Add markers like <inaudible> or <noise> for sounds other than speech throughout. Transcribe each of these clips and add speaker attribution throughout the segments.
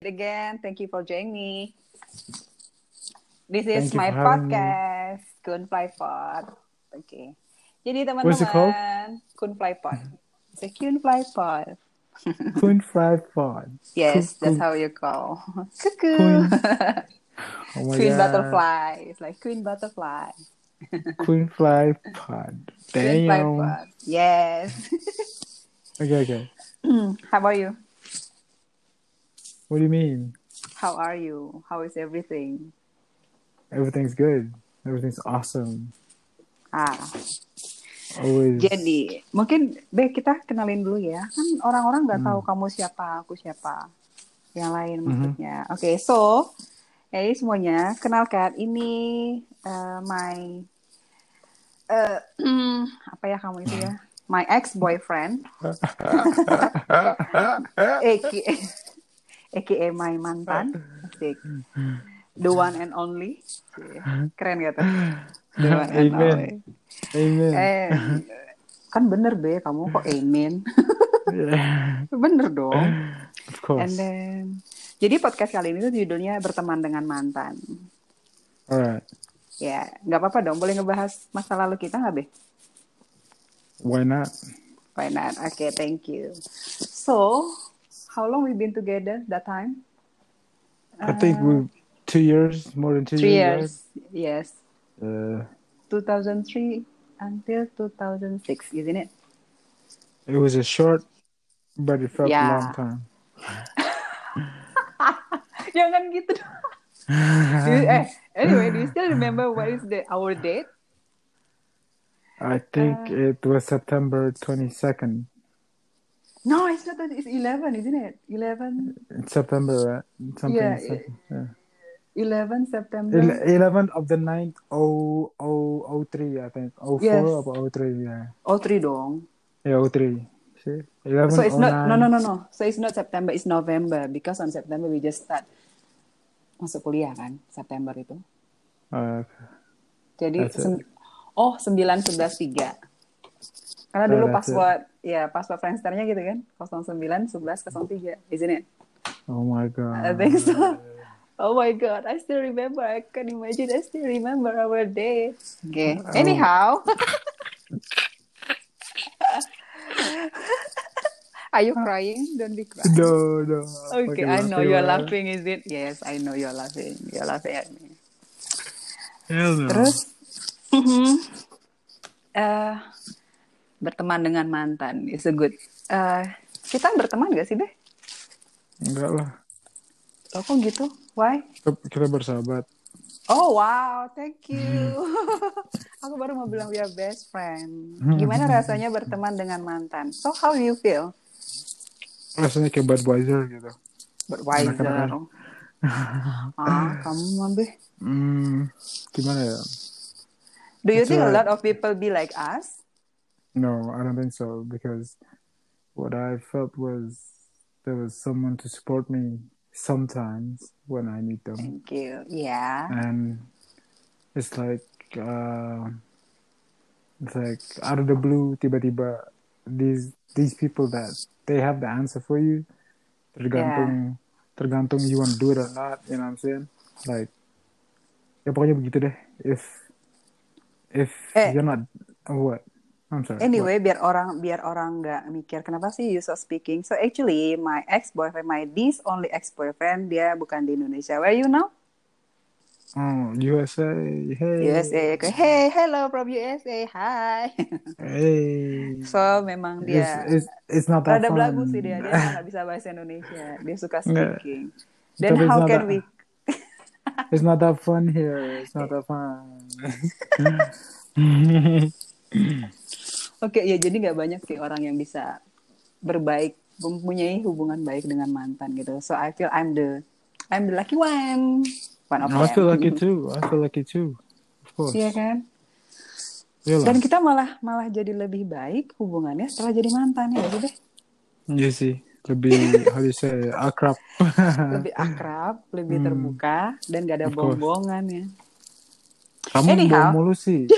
Speaker 1: Again, thank you for joining me. This is
Speaker 2: Thank you
Speaker 1: my
Speaker 2: for having me.
Speaker 1: podcast, Kunfly Pod. Oke. Jadi
Speaker 2: What's it called?
Speaker 1: teman-teman, Kunfly Pod. It's a Kunfly Pod.
Speaker 2: Coon fly pod.
Speaker 1: Yes, that's
Speaker 2: Coon-
Speaker 1: how you call. <laughs> Cuckoo.
Speaker 2: Queen.
Speaker 1: Queen,
Speaker 2: Oh my God.
Speaker 1: butterfly. It's like queen butterfly.
Speaker 2: Coon fly pod.
Speaker 1: <laughs> Queen
Speaker 2: Damn.
Speaker 1: butterfly. Yes. <clears throat>
Speaker 2: Okay, okay.
Speaker 1: How about you?
Speaker 2: What do you mean?
Speaker 1: How are you? How is everything?
Speaker 2: Everything's good. Everything's awesome.
Speaker 1: Ah,
Speaker 2: Always.
Speaker 1: jadi mungkin Be kita kenalin dulu ya. Kan orang-orang nggak tahu kamu siapa, aku siapa. Yang lain maksudnya. Oke, so hey semuanya, kenalkan ini eh, my eh, apa ya kamu itu ya? My ex boyfriend, aka, aka my mantan, Asik. the one and only, keren gak tuh? The one and
Speaker 2: Amen.
Speaker 1: only.
Speaker 2: Amen.
Speaker 1: Eh, kan bener be kamu kok amen
Speaker 2: <laughs> Yeah,
Speaker 1: <laughs> bener dong
Speaker 2: of
Speaker 1: and
Speaker 2: course.
Speaker 1: then jadi podcast kali ini tuh judulnya berteman dengan mantan
Speaker 2: Alright.
Speaker 1: ya nggak apa-apa dong boleh ngebahas masa lalu kita nggak be
Speaker 2: Why not?
Speaker 1: why not oke thank you so how long we been together that time
Speaker 2: I think
Speaker 1: Uh,
Speaker 2: we two years, more than two
Speaker 1: three
Speaker 2: years.
Speaker 1: years yes
Speaker 2: right? Uh,
Speaker 1: 2003 until 2006 isn't it <laughs>
Speaker 2: it was a short, but it felt
Speaker 1: Yeah.
Speaker 2: a long time.
Speaker 1: jangan gitu dong. Do you- eh, anyway do you still remember what is the our date
Speaker 2: I think
Speaker 1: Uh,
Speaker 2: it was September twenty second.
Speaker 1: No, it's not that. It's 11, isn't it? 11,
Speaker 2: It's September, right? Something.
Speaker 1: Yeah,
Speaker 2: second, yeah.
Speaker 1: 11 September.
Speaker 2: Ele- 11th of the 9th, oh, oh, oh, 03, I think. 04
Speaker 1: Yes.
Speaker 2: or 03, yeah.
Speaker 1: oh, three dong.
Speaker 2: Yeah, 03. See? oh 11,
Speaker 1: So it's not,
Speaker 2: 09.
Speaker 1: no, no, no, no. So it's not September, it's November. Because on September we just start masuk kuliah kan, September itu.
Speaker 2: Uh,
Speaker 1: Jadi,
Speaker 2: That's it.
Speaker 1: sem- oh, 9, 11, 3. Karena
Speaker 2: No,
Speaker 1: dulu
Speaker 2: that's it.
Speaker 1: password, ya password Friendster-nya gitu kan. 09, 11, 03, isn't it?
Speaker 2: oh
Speaker 1: I
Speaker 2: my god.
Speaker 1: think so. Oh my god, I still remember. I can imagine. I still remember our day. Um, Okay. <laughs> Anyhow. Are you crying? Don't be crying.
Speaker 2: <laughs> No, no.
Speaker 1: Okay,
Speaker 2: Fucking
Speaker 1: I know
Speaker 2: laughing
Speaker 1: you're
Speaker 2: about it.
Speaker 1: laughing, is it? Yes, I know you're laughing. You're laughing at me.
Speaker 2: Hell no.
Speaker 1: Um, Terus, Mm-hmm. eh, berteman dengan mantan is a good. eh, kita berteman gak sih, Beh?
Speaker 2: Enggak lah.
Speaker 1: Loh, kok gitu? Why?
Speaker 2: Kita- Kita bersahabat.
Speaker 1: Oh wow, thank you. Aku baru mau bilang we are best friend. Gimana rasanya berteman dengan mantan? So how you feel?
Speaker 2: Rasanya kayak Budweiser gitu.
Speaker 1: Budweiser. ah, kamu mambe.
Speaker 2: Hmm, gimana ya?
Speaker 1: Do you
Speaker 2: It's
Speaker 1: think a
Speaker 2: alright.
Speaker 1: lot of people be like us?
Speaker 2: No, I don't think so because what I felt was there was someone to support me sometimes when I need them.
Speaker 1: Thank you.
Speaker 2: Hmm.
Speaker 1: Yeah.
Speaker 2: And it's like uh, it's like out of the blue, tiba-tiba these these people that they have the answer for you. Tergantung tergantung you want to do it or not, you know what I'm saying? Like ya pokoknya begitu deh. If if
Speaker 1: Eh.
Speaker 2: you're not oh, what? I'm sorry. what?
Speaker 1: Anyway, biar orang biar orang nggak mikir kenapa sih you so speaking. So actually, my ex boyfriend, my this only ex boyfriend, dia bukan di Indonesia. Where you now?
Speaker 2: Oh, USA. Hey.
Speaker 1: USA. Hey, hello from USA. Hi. <laughs>
Speaker 2: Hey.
Speaker 1: so memang dia.
Speaker 2: It's, it's, it's not that
Speaker 1: Rada
Speaker 2: fun.
Speaker 1: belagu sih dia, dia nggak bisa bahasa Indonesia, dia suka
Speaker 2: Nggak.
Speaker 1: speaking. Then
Speaker 2: Tapi
Speaker 1: how
Speaker 2: it's not
Speaker 1: can
Speaker 2: that-
Speaker 1: we?
Speaker 2: It's not that fun here. It's not that fun.
Speaker 1: Oke ya jadi nggak banyak sih orang yang bisa berbaik, mempunyai hubungan baik dengan mantan gitu. So I feel I'm the, I'm the lucky one, one of
Speaker 2: I
Speaker 1: them.
Speaker 2: feel Nah, lucky too. I feel lucky too. Of course.
Speaker 1: Iya kan?
Speaker 2: Really?
Speaker 1: Dan kita malah malah jadi lebih baik hubungannya setelah jadi mantan ya gitu deh.
Speaker 2: You see, lebih how do you say akrab.
Speaker 1: Lebih akrab, lebih terbuka, dan gak ada
Speaker 2: Nah. Hmm. Of course.
Speaker 1: bohong-bohongan ya.
Speaker 2: Kamu
Speaker 1: Anyhow.
Speaker 2: bohong mulu sih.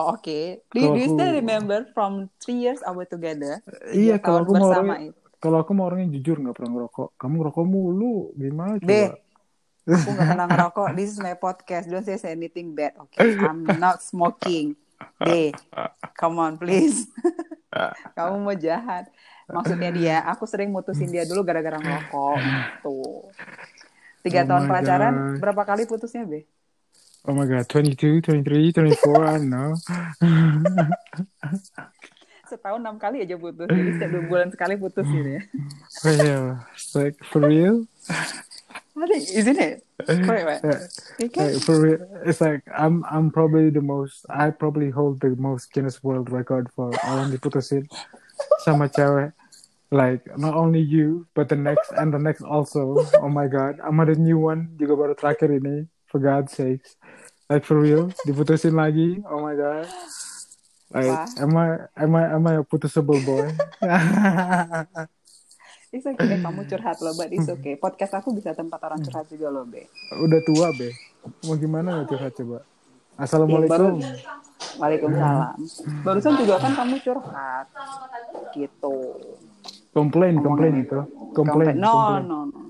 Speaker 1: Oh, Oke, do, you- do you
Speaker 2: Kalau
Speaker 1: still
Speaker 2: aku-
Speaker 1: remember from three years our together?
Speaker 2: Iya,
Speaker 1: Dua tahun
Speaker 2: kalau aku mau
Speaker 1: bersama
Speaker 2: orangnya-
Speaker 1: itu.
Speaker 2: Kalau aku mau orangnya jujur nggak pernah ngerokok. Kamu ngerokok mulu, gimana
Speaker 1: Deh,
Speaker 2: coba?
Speaker 1: aku nggak pernah ngerokok. This is my podcast. Don't say anything bad. Okay, I'm not smoking. Deh, come on please. <laughs> Kamu mau jahat. Maksudnya dia, aku sering mutusin dia dulu gara-gara ngerokok. Tuh. Tiga
Speaker 2: Oh
Speaker 1: tahun
Speaker 2: my
Speaker 1: pacaran,
Speaker 2: God.
Speaker 1: berapa kali putusnya, Be?
Speaker 2: Oh my god, 22, 23, 24, I don't know.
Speaker 1: Setahun enam kali aja putus. Jadi setiap dua bulan sekali putus gitu ya.
Speaker 2: Oh yeah, it's like for real? Eh,
Speaker 1: I think, Isn't it? Correct, right?
Speaker 2: Yeah,
Speaker 1: You can-
Speaker 2: like, for real. It's like I'm I'm probably the most I probably hold the most Guinness World Record for orang diputusin sama cewek. Like not only you, but the next and the next also. Oh my god, I'm ada new one juga baru terakhir ini. For God's sakes, like for real, diputusin lagi. Oh my god. Like,
Speaker 1: Wah.
Speaker 2: am I am I am I a putusable boy? eh.
Speaker 1: It's okay deh, kamu curhat loh, but it's okay. Podcast aku bisa tempat orang curhat juga loh, Be.
Speaker 2: Udah tua be. Mau gimana ya curhat coba? Assalamualaikum.
Speaker 1: Iya, Waalaikumsalam. Barusan juga kan kamu curhat. Gitu.
Speaker 2: Komplain, komplain itu. Komplain.
Speaker 1: No, no,
Speaker 2: komplain.
Speaker 1: no, no.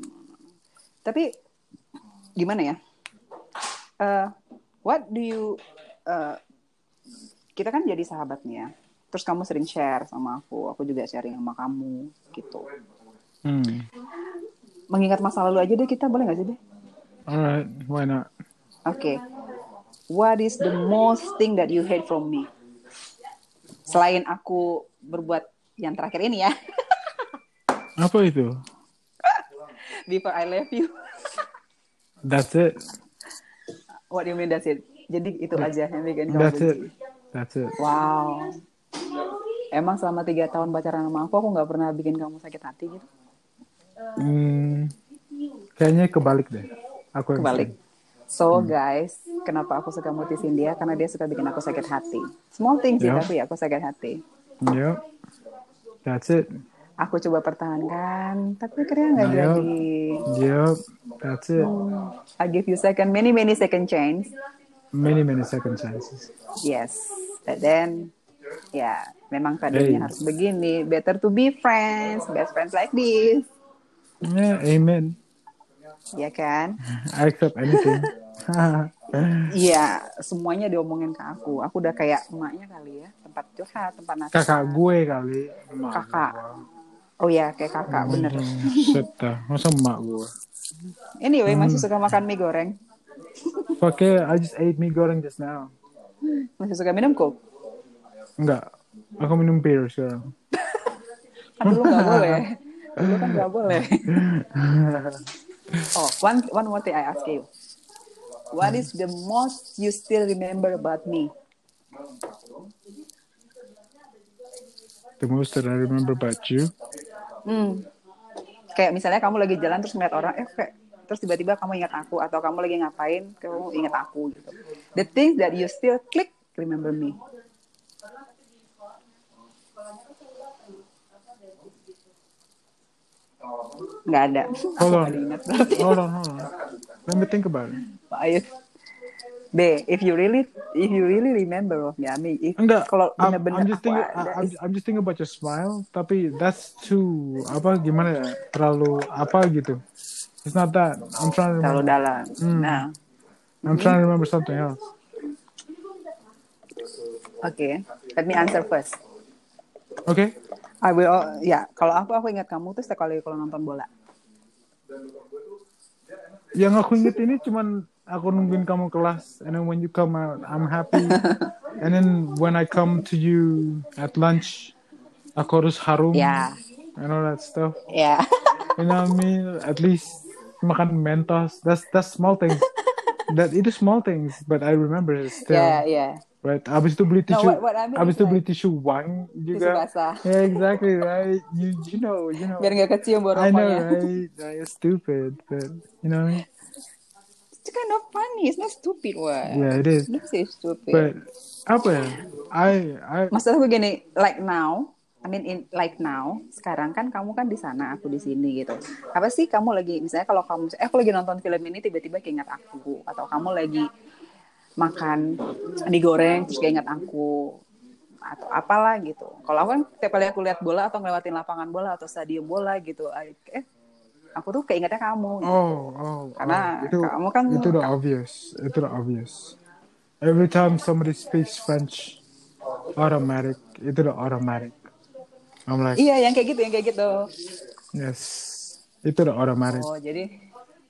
Speaker 1: Tapi gimana ya? Eh, what do you eh, kita kan jadi sahabat nih ya. Terus kamu sering share sama aku, aku juga sharing sama kamu gitu.
Speaker 2: Hmm.
Speaker 1: Mengingat masa lalu aja deh kita boleh nggak sih deh?
Speaker 2: Alright, why not?
Speaker 1: Oke. What is the most thing that you hate from me? Selain aku berbuat yang terakhir ini ya, <laughs>
Speaker 2: Apa itu?
Speaker 1: before I left you.
Speaker 2: That's it.
Speaker 1: What do you mean that's it? Jadi itu aja yang bikin kamu
Speaker 2: Nah, That's
Speaker 1: benci.
Speaker 2: it. That's it.
Speaker 1: Wow. Emang selama tiga tahun pacaran sama aku, aku nggak pernah bikin kamu sakit hati gitu?
Speaker 2: Hmm. Kayaknya kebalik deh. Aku yang
Speaker 1: Kebalik. So
Speaker 2: Hmm.
Speaker 1: guys, kenapa aku suka mutusin dia? Karena dia suka bikin aku sakit hati. Small things sih,
Speaker 2: Ya.
Speaker 1: tapi aku sakit hati.
Speaker 2: sering. Yup. That's it.
Speaker 1: Aku coba pertahankan, tapi akhirnya nggak
Speaker 2: Ya.
Speaker 1: jadi.
Speaker 2: Yup. That's it.
Speaker 1: I give you second, many many second chance.
Speaker 2: Many many second chances.
Speaker 1: Yes. But then, ya memang
Speaker 2: Hey.
Speaker 1: kadarnya harus begini. Better to be friends, best friends like this.
Speaker 2: Yeah, amen.
Speaker 1: Ya kan?
Speaker 2: I accept anything. <laughs>
Speaker 1: Iya, semuanya diomongin ke aku. Aku udah kayak emaknya kali ya, tempat curhat, tempat nasihat.
Speaker 2: Kakak gue kali. Emak
Speaker 1: Kakak. Oh ya, kayak kakak, bener.
Speaker 2: gue. Oh, Shit dah. Masa emak gue?
Speaker 1: Anyway, masih suka makan mie goreng.
Speaker 2: Fuck yeah, I just ate mie goreng just now.
Speaker 1: Masih suka minum kok.
Speaker 2: Enggak. Aku minum bir sekarang.
Speaker 1: Kan dulu nggak boleh. Dulu kan nggak boleh. Oh, one, one more thing I ask you. What is the most you still remember about me?
Speaker 2: The most that I remember about you.
Speaker 1: Hmm. Kayak misalnya kamu lagi jalan terus ngeliat orang, eh kayak terus tiba-tiba kamu ingat aku atau kamu lagi ngapain kamu ingat aku gitu. The things that you still click remember me. Nggak ada. Aku <laughs>
Speaker 2: Hold
Speaker 1: nggak
Speaker 2: on.
Speaker 1: diingat berarti.
Speaker 2: Hold on, hold on. Let me think about it.
Speaker 1: Ayo. B, if you really if you really remember of me, I mean, if
Speaker 2: Enggak.
Speaker 1: kalau
Speaker 2: I'm,
Speaker 1: bener-bener
Speaker 2: I'm
Speaker 1: aku
Speaker 2: just thinking.
Speaker 1: ada,
Speaker 2: I- I'm,
Speaker 1: is-
Speaker 2: I'm just thinking about your smile. Tapi that's too apa gimana ya? Terlalu apa gitu. It's not that. I'm trying to
Speaker 1: terlalu
Speaker 2: remember.
Speaker 1: dalam. Nah,
Speaker 2: I'm trying to remember something else.
Speaker 1: oke. Let me answer first.
Speaker 2: Okay.
Speaker 1: I will, ya. Kalau aku, aku ingat kamu tuh setiap kali kalau nonton bola.
Speaker 2: Yang aku inget ini cuman aku nungguin kamu kelas. And then when you come out, I'm
Speaker 1: <laughs>
Speaker 2: happy. and then when I come to you at lunch, aku harus harum.
Speaker 1: Ya,
Speaker 2: And all that stuff.
Speaker 1: ya. <laughs>
Speaker 2: You know what I mean? At least makan Mentos. That's that's
Speaker 1: <laughs>
Speaker 2: small things. that itu small things, but I remember it still.
Speaker 1: Ya, ya.
Speaker 2: Right. Abis itu beli
Speaker 1: No,
Speaker 2: tisu.
Speaker 1: what- what I mean is
Speaker 2: abis itu
Speaker 1: like-
Speaker 2: beli tisu wangi
Speaker 1: Tisu
Speaker 2: juga.
Speaker 1: basah.
Speaker 2: <laughs> Yeah, exactly right. You you know you know.
Speaker 1: Biar nggak kecium bau
Speaker 2: I know
Speaker 1: rokoknya.
Speaker 2: right. That is stupid, but
Speaker 1: <laughs>
Speaker 2: you know. what I mean?
Speaker 1: It's kind of funny. It's not stupid, what?
Speaker 2: Yeah, it is.
Speaker 1: Don't say stupid.
Speaker 2: But apa ya? I I
Speaker 1: Maksud aku gini, like now, I mean in, like now, sekarang kan kamu kan di sana, aku di sini gitu. Apa sih kamu lagi, misalnya kalau kamu, eh aku lagi nonton film ini tiba-tiba keinget aku, atau kamu lagi makan digoreng terus keinget aku, atau apalah gitu. Kalau aku kan tiap kali aku lihat bola atau ngelewatin lapangan bola atau stadion bola gitu, I- eh aku tuh keingetnya kamu. gitu.
Speaker 2: Oh, oh,
Speaker 1: Karena
Speaker 2: oh. Itu,
Speaker 1: kamu kan-
Speaker 2: itu udah obvious. Itu udah obvious. Every time somebody speaks French, automatic. Itu udah automatic. I'm like,
Speaker 1: Iya, yang kayak gitu, yang kayak gitu.
Speaker 2: yes. Itu udah automatic.
Speaker 1: Oh, jadi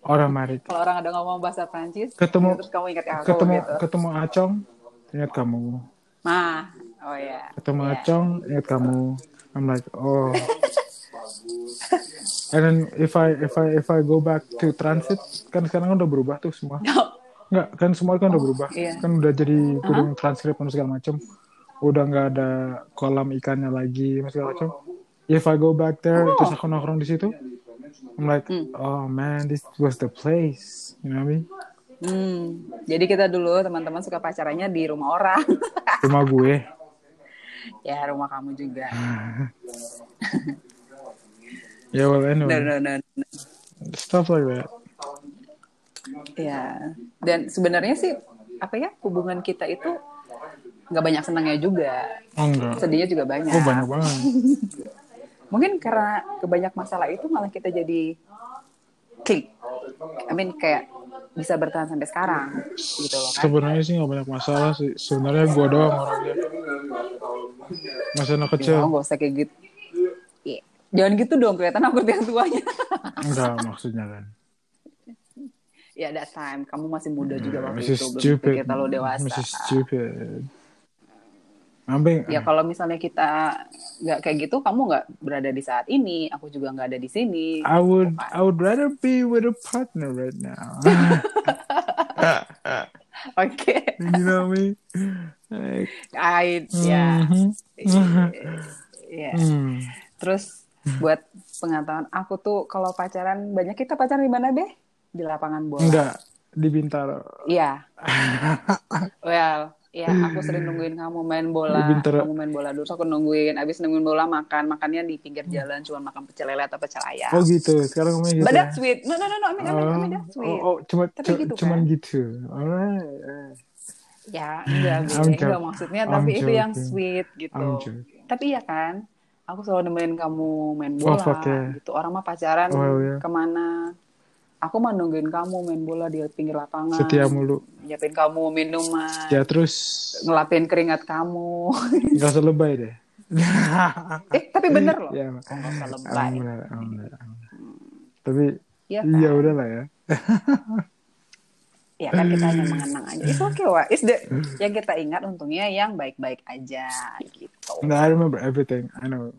Speaker 2: Automatic.
Speaker 1: kalau orang ada ngomong bahasa Prancis,
Speaker 2: Ketemu-
Speaker 1: terus kamu ingat aku
Speaker 2: Ketemu
Speaker 1: Iya, gitu.
Speaker 2: ketemu Acong, ingat kamu.
Speaker 1: Nah, oh ya.
Speaker 2: Ketemu
Speaker 1: Iya.
Speaker 2: Acong, ingat kamu. I'm like, oh. And then if I if I if I go back to transit, kan sekarang kan udah berubah tuh semua. Enggak, kan semua kan udah berubah.
Speaker 1: iya.
Speaker 2: Kan udah jadi kudung transkrip dan segala macam. Udah nggak ada kolam ikannya lagi dan segala macam. If I go back there, terus aku nongkrong di situ, I'm like, oh man, this was the place. You know what I mean?
Speaker 1: <laughs> Hmm, jadi kita dulu teman-teman suka pacarannya di rumah orang. <laughs>
Speaker 2: Rumah gue.
Speaker 1: ya, rumah kamu juga.
Speaker 2: Hmm. Yeah, well,
Speaker 1: No,
Speaker 2: anyway,
Speaker 1: no, no. no.
Speaker 2: stuff like that.
Speaker 1: Ya. Dan sebenarnya sih apa ya hubungan kita itu nggak banyak senangnya juga,
Speaker 2: Oh, enggak.
Speaker 1: sedihnya juga banyak.
Speaker 2: Oh, banyak banget.
Speaker 1: Mungkin karena kebanyak masalah itu malah kita jadi klik. I mean kayak bisa bertahan sampai sekarang gitu loh kan.
Speaker 2: Sebenarnya sih nggak banyak masalah sih. Sebenarnya gue doang orangnya. Masih anak
Speaker 1: Ya,
Speaker 2: kecil.
Speaker 1: nggak usah kayak gitu. Iya. Jangan gitu dong, kelihatan aku yang tuanya.
Speaker 2: Enggak, maksudnya kan.
Speaker 1: ya, that time. Kamu masih muda juga waktu
Speaker 2: Nah, Hmm, Masih
Speaker 1: itu.
Speaker 2: stupid. Hmm,
Speaker 1: Belum kita terlalu dewasa.
Speaker 2: Masih stupid. I'm being,
Speaker 1: Ya, kalau misalnya kita nggak kayak gitu, kamu nggak berada di saat ini. Aku juga nggak ada di sini.
Speaker 2: I would I would rather be with a partner right now.
Speaker 1: <laughs>
Speaker 2: <laughs>
Speaker 1: Oke.
Speaker 2: you know me? Like,
Speaker 1: I, ya.
Speaker 2: mhm.
Speaker 1: Ya.
Speaker 2: Hmm.
Speaker 1: Terus, buat pengetahuan, aku tuh kalau pacaran, banyak kita pacaran di mana, Beh? Di lapangan bola.
Speaker 2: Enggak di Bintaro. <laughs>
Speaker 1: Iya. well, ya aku sering nungguin kamu main bola.
Speaker 2: Lu pinter.
Speaker 1: Kamu main bola dulu, terus aku nungguin. Abis nungguin bola makan, makannya di pinggir jalan, cuma makan pecel lele atau pecel ayam.
Speaker 2: Oh gitu. Sekarang ngomongnya gitu.
Speaker 1: But
Speaker 2: ya?
Speaker 1: that's Ya. sweet. No, no, no, no. I mean, I mean, I mean that's
Speaker 2: Oh,
Speaker 1: sweet.
Speaker 2: oh, oh, cuma
Speaker 1: Tapi
Speaker 2: cu-
Speaker 1: gitu,
Speaker 2: cuman
Speaker 1: kan?
Speaker 2: gitu. Alright. alright.
Speaker 1: Ya, enggak,
Speaker 2: I'm
Speaker 1: gue. enggak
Speaker 2: joking.
Speaker 1: maksudnya.
Speaker 2: I'm
Speaker 1: Tapi itu
Speaker 2: joking.
Speaker 1: yang sweet gitu.
Speaker 2: I'm joking. Oh,
Speaker 1: Tapi iya kan, aku selalu nemenin kamu main bola.
Speaker 2: fuck, yeah.
Speaker 1: gitu. Orang mah pacaran
Speaker 2: Well, yeah.
Speaker 1: kemana. Aku mah nungguin kamu main bola di pinggir lapangan.
Speaker 2: Setia mulu.
Speaker 1: Nyiapin kamu minuman.
Speaker 2: Ya terus
Speaker 1: Ngelapin keringat kamu. <laughs>
Speaker 2: nggak usah lebay deh.
Speaker 1: eh, tapi
Speaker 2: <laughs>
Speaker 1: bener loh.
Speaker 2: Ya.
Speaker 1: Oh, nggak usah lebay. Hmm.
Speaker 2: Alhamdulillah, alhamdulillah, alhamdulillah. Tapi
Speaker 1: Iya kan?
Speaker 2: ya udah lah ya.
Speaker 1: Ya kan kita hanya mengenang aja. It's okay, Wak. It's the yang kita ingat untungnya yang baik-baik aja gitu.
Speaker 2: No, I remember everything. I know.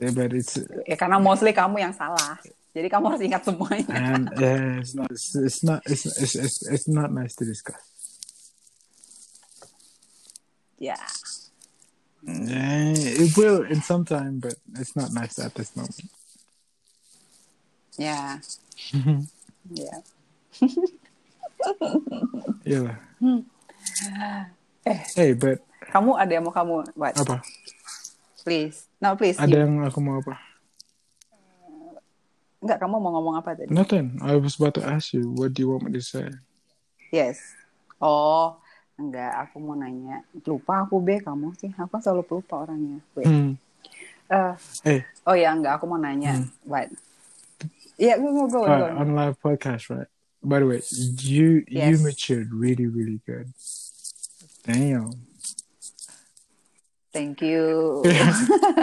Speaker 2: Yeah, but it's
Speaker 1: Ya karena mostly kamu yang salah. Jadi kamu harus ingat semuanya.
Speaker 2: and yeah, it's not it's, it's not it's, it's it's it's not nice to discuss.
Speaker 1: Ya.
Speaker 2: Yeah, it will in some time, but it's not nice at this moment. <laughs>
Speaker 1: Ya. Ya.
Speaker 2: Yeah.
Speaker 1: Hmm. <sighs>
Speaker 2: Hey, but
Speaker 1: Kamu ada yang mau kamu buat?
Speaker 2: apa?
Speaker 1: Please. No, please.
Speaker 2: Ada
Speaker 1: You-
Speaker 2: yang aku mau apa?
Speaker 1: Enggak, kamu mau ngomong apa tadi?
Speaker 2: Nothing. I was about to ask you. What do you want me to say?
Speaker 1: Yes. Oh, enggak. Aku mau nanya. Lupa aku, Be. Kamu sih. Aku kan selalu pelupa orangnya. Wait.
Speaker 2: Hmm.
Speaker 1: Eh,
Speaker 2: Hey,
Speaker 1: oh ya, enggak. Aku mau nanya.
Speaker 2: Hmm.
Speaker 1: What? Iya, gue go, go, go.
Speaker 2: uh, on live podcast, right? By the way, you you
Speaker 1: Yes.
Speaker 2: matured really really good. Damn,
Speaker 1: Thank you.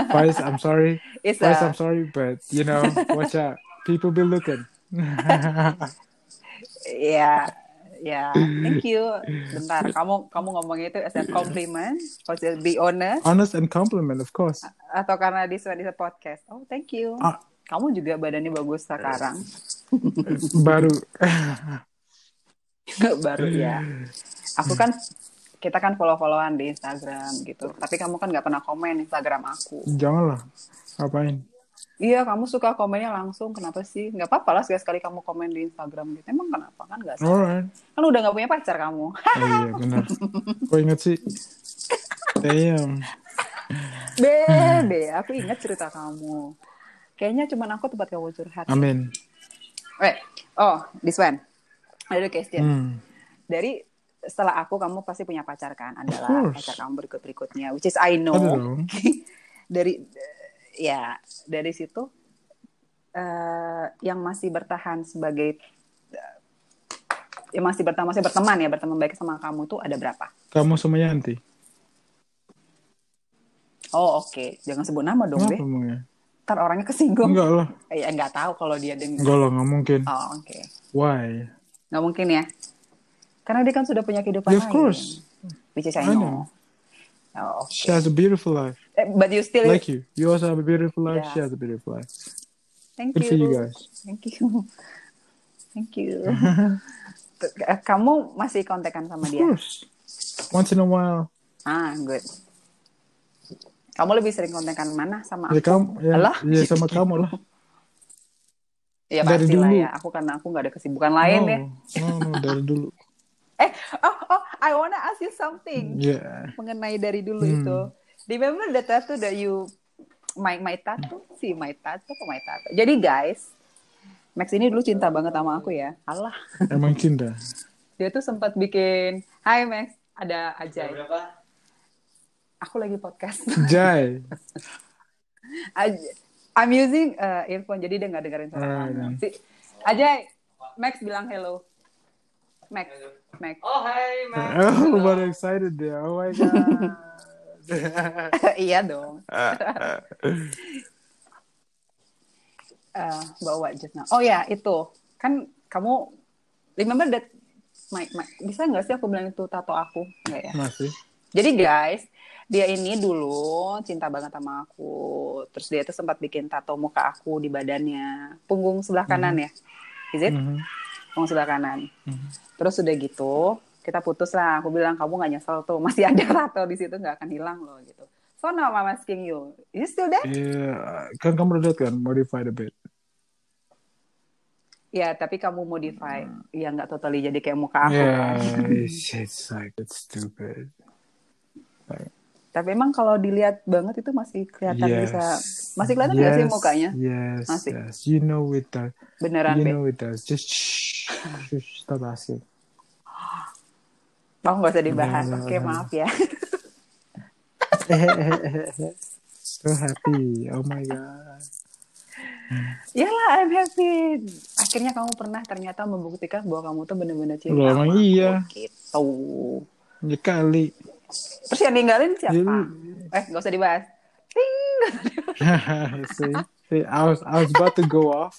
Speaker 2: Vice, I'm sorry.
Speaker 1: It's
Speaker 2: Vice,
Speaker 1: a,
Speaker 2: I'm sorry, but
Speaker 1: <laughs>
Speaker 2: you know, watch out. People be looking.
Speaker 1: ya, ya. Thank you. Bentar, kamu kamu ngomongnya itu as a compliment, or to be honest,
Speaker 2: Honest and compliment, of course.
Speaker 1: atau karena di suara podcast. Oh, thank you.
Speaker 2: Ah.
Speaker 1: Kamu juga badannya bagus sekarang. <laughs>
Speaker 2: Baru.
Speaker 1: Baru ya. Aku kan kita kan follow-followan di Instagram gitu. Tapi kamu kan nggak pernah komen Instagram aku.
Speaker 2: Janganlah. Ngapain?
Speaker 1: Iya, kamu suka komennya langsung. Kenapa sih? Nggak apa-apa lah sekali-sekali kamu komen di Instagram gitu. Emang kenapa kan nggak?
Speaker 2: Alright.
Speaker 1: Kan udah nggak punya pacar kamu. <laughs>
Speaker 2: Oh, iya benar. Kok inget sih? Damn. Hmm.
Speaker 1: Be, be, aku ingat cerita kamu. Kayaknya cuman aku tempat kamu curhat. Eh,
Speaker 2: Amin.
Speaker 1: Wait, oh, this one. Ada question.
Speaker 2: Hmm.
Speaker 1: Dari setelah aku kamu pasti punya pacar kan adalah
Speaker 2: course.
Speaker 1: pacar kamu berikut berikutnya which is I know
Speaker 2: I don't know.
Speaker 1: dari ya dari situ eh, yang masih bertahan sebagai eh, yang masih bertahan masih berteman ya berteman baik sama kamu tuh ada berapa?
Speaker 2: Kamu sama Yanti.
Speaker 1: Oh oke jangan sebut nama dong deh
Speaker 2: Kenapa emang ya?
Speaker 1: ntar orangnya kesinggung.
Speaker 2: Enggak lah.
Speaker 1: Eh, ya, nggak tahu kalau dia dengar.
Speaker 2: Enggak lah, nggak mungkin.
Speaker 1: Oh oke
Speaker 2: Why?
Speaker 1: nggak mungkin ya karena dia kan sudah punya kehidupan
Speaker 2: Yeah, of
Speaker 1: lain.
Speaker 2: course.
Speaker 1: Which is I know.
Speaker 2: I know.
Speaker 1: Oh, oke.
Speaker 2: She has a beautiful life.
Speaker 1: Eh, but you still
Speaker 2: Like you. You also have a beautiful life.
Speaker 1: Yeah.
Speaker 2: She has a beautiful life.
Speaker 1: Thank you.
Speaker 2: Good for you guys.
Speaker 1: Thank you. <laughs> Thank
Speaker 2: <laughs>
Speaker 1: you. K- Kamu masih kontekan sama
Speaker 2: Of
Speaker 1: dia?
Speaker 2: course. Once in a while.
Speaker 1: Ah, good. Kamu lebih sering kontekan mana sama
Speaker 2: Ya,
Speaker 1: aku?
Speaker 2: kamu, ya,
Speaker 1: Alah.
Speaker 2: ya sama kamu lah.
Speaker 1: Ya
Speaker 2: dari
Speaker 1: pasti lah
Speaker 2: dulu.
Speaker 1: ya. Aku karena aku nggak ada kesibukan lain
Speaker 2: no,
Speaker 1: ya.
Speaker 2: no, no, dari dulu.
Speaker 1: Eh, oh, oh, I wanna ask you
Speaker 2: Hmm.
Speaker 1: something
Speaker 2: Yeah.
Speaker 1: mengenai dari dulu
Speaker 2: Hmm.
Speaker 1: itu. Remember the tattoo that you my my tattoo sih my tattoo apa my tattoo. Jadi guys, Max ini dulu cinta banget sama aku ya. Allah.
Speaker 2: Emang cinta.
Speaker 1: dia tuh sempat bikin Hai Max ada Ajay aku lagi podcast <laughs>
Speaker 2: Jai.
Speaker 1: Aj- I'm using uh, earphone jadi dia nggak dengerin suara
Speaker 2: Alright,
Speaker 1: kamu si Ajay Max bilang hello Max Max
Speaker 3: Oh, hai, Mas.
Speaker 1: Nah.
Speaker 2: <laughs> Oh, what excited there. Oh my god.
Speaker 1: <laughs> iya dong Eh, bawa just now. oh ya itu kan kamu remember that Mike, Mike. bisa nggak sih aku bilang itu tato aku nggak ya
Speaker 2: Masih.
Speaker 1: Jadi guys, dia ini dulu cinta banget sama aku. Terus dia tuh sempat bikin tato muka aku di badannya, punggung sebelah kanan ya. Is it?
Speaker 2: Mhm.
Speaker 1: Punggung sebelah kanan.
Speaker 2: Mhm.
Speaker 1: Terus udah gitu, kita putus lah. Aku bilang kamu nggak nyesel tuh, masih ada tato di situ nggak akan hilang loh gitu. So now I'm asking you, is it still there?
Speaker 2: Yeah, kan kamu udah lihat kan modified a bit.
Speaker 1: Ya, tapi kamu modify, ya nggak totally jadi kayak muka aku kan.
Speaker 2: Yeah, it's, it's Ya, like it's stupid.
Speaker 1: Tapi emang kalau dilihat banget itu masih kelihatan
Speaker 2: Yes.
Speaker 1: Ya, bisa, masih kelihatan nggak sih
Speaker 2: Yes,
Speaker 1: mukanya?
Speaker 2: Yes,
Speaker 1: Masih.
Speaker 2: yes. You know it does.
Speaker 1: Beneran
Speaker 2: you
Speaker 1: deh.
Speaker 2: know it does. Just shh, shh, stop asking.
Speaker 1: Mau Oh, nggak usah dibahas.
Speaker 2: Iya, iya,
Speaker 1: Oke,
Speaker 2: iya.
Speaker 1: maaf ya. <laughs>
Speaker 2: so happy. Oh my god.
Speaker 1: Yalah, I'm happy. Akhirnya kamu pernah ternyata membuktikan bahwa kamu tuh bener-bener cinta
Speaker 2: Loh,
Speaker 1: sama
Speaker 2: emang
Speaker 1: aku,
Speaker 2: iya.
Speaker 1: Gitu.
Speaker 2: Ya kali.
Speaker 1: Terus yang ninggalin siapa?
Speaker 2: Jadi-
Speaker 1: Eh, gak usah dibahas. Ting.
Speaker 2: <laughs> see, see, I was I was about to go off,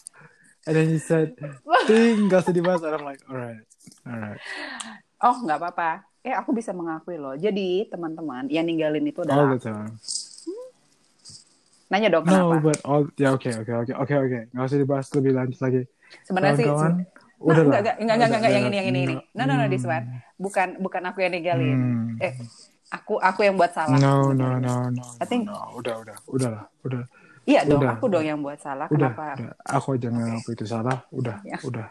Speaker 2: and then you
Speaker 1: <laughs>
Speaker 2: said, "Ting, gak usah dibahas." And I'm like, "All right, all right."
Speaker 1: Oh, nggak apa-apa. Eh, aku bisa mengakui loh. Jadi, teman-teman, yang ninggalin itu
Speaker 2: All
Speaker 1: adalah...
Speaker 2: the time.
Speaker 1: Nanya dong
Speaker 2: No,
Speaker 1: kenapa.
Speaker 2: but all yeah, okay, okay, okay, okay, okay. Gak usah dibahas lebih lanjut lagi.
Speaker 1: Sebenarnya sih...
Speaker 2: Kawan-kawan,
Speaker 1: Nah,
Speaker 2: udah
Speaker 1: enggak, enggak, enggak, enggak, enggak, yang ini, yang ini, ini. No, no, no, this one. Bukan, bukan aku yang ninggalin.
Speaker 2: Hmm.
Speaker 1: Eh, aku aku yang buat salah.
Speaker 2: No, no,
Speaker 1: sebenarnya.
Speaker 2: no, no.
Speaker 1: I think-
Speaker 2: no, no. udah, udah, udahlah, udah,
Speaker 1: Iya dong,
Speaker 2: Udah.
Speaker 1: aku dong yang buat salah.
Speaker 2: udah,
Speaker 1: Kenapa?
Speaker 2: udah. Aku aja ngaku itu salah. Udah,
Speaker 1: Ya.
Speaker 2: udah.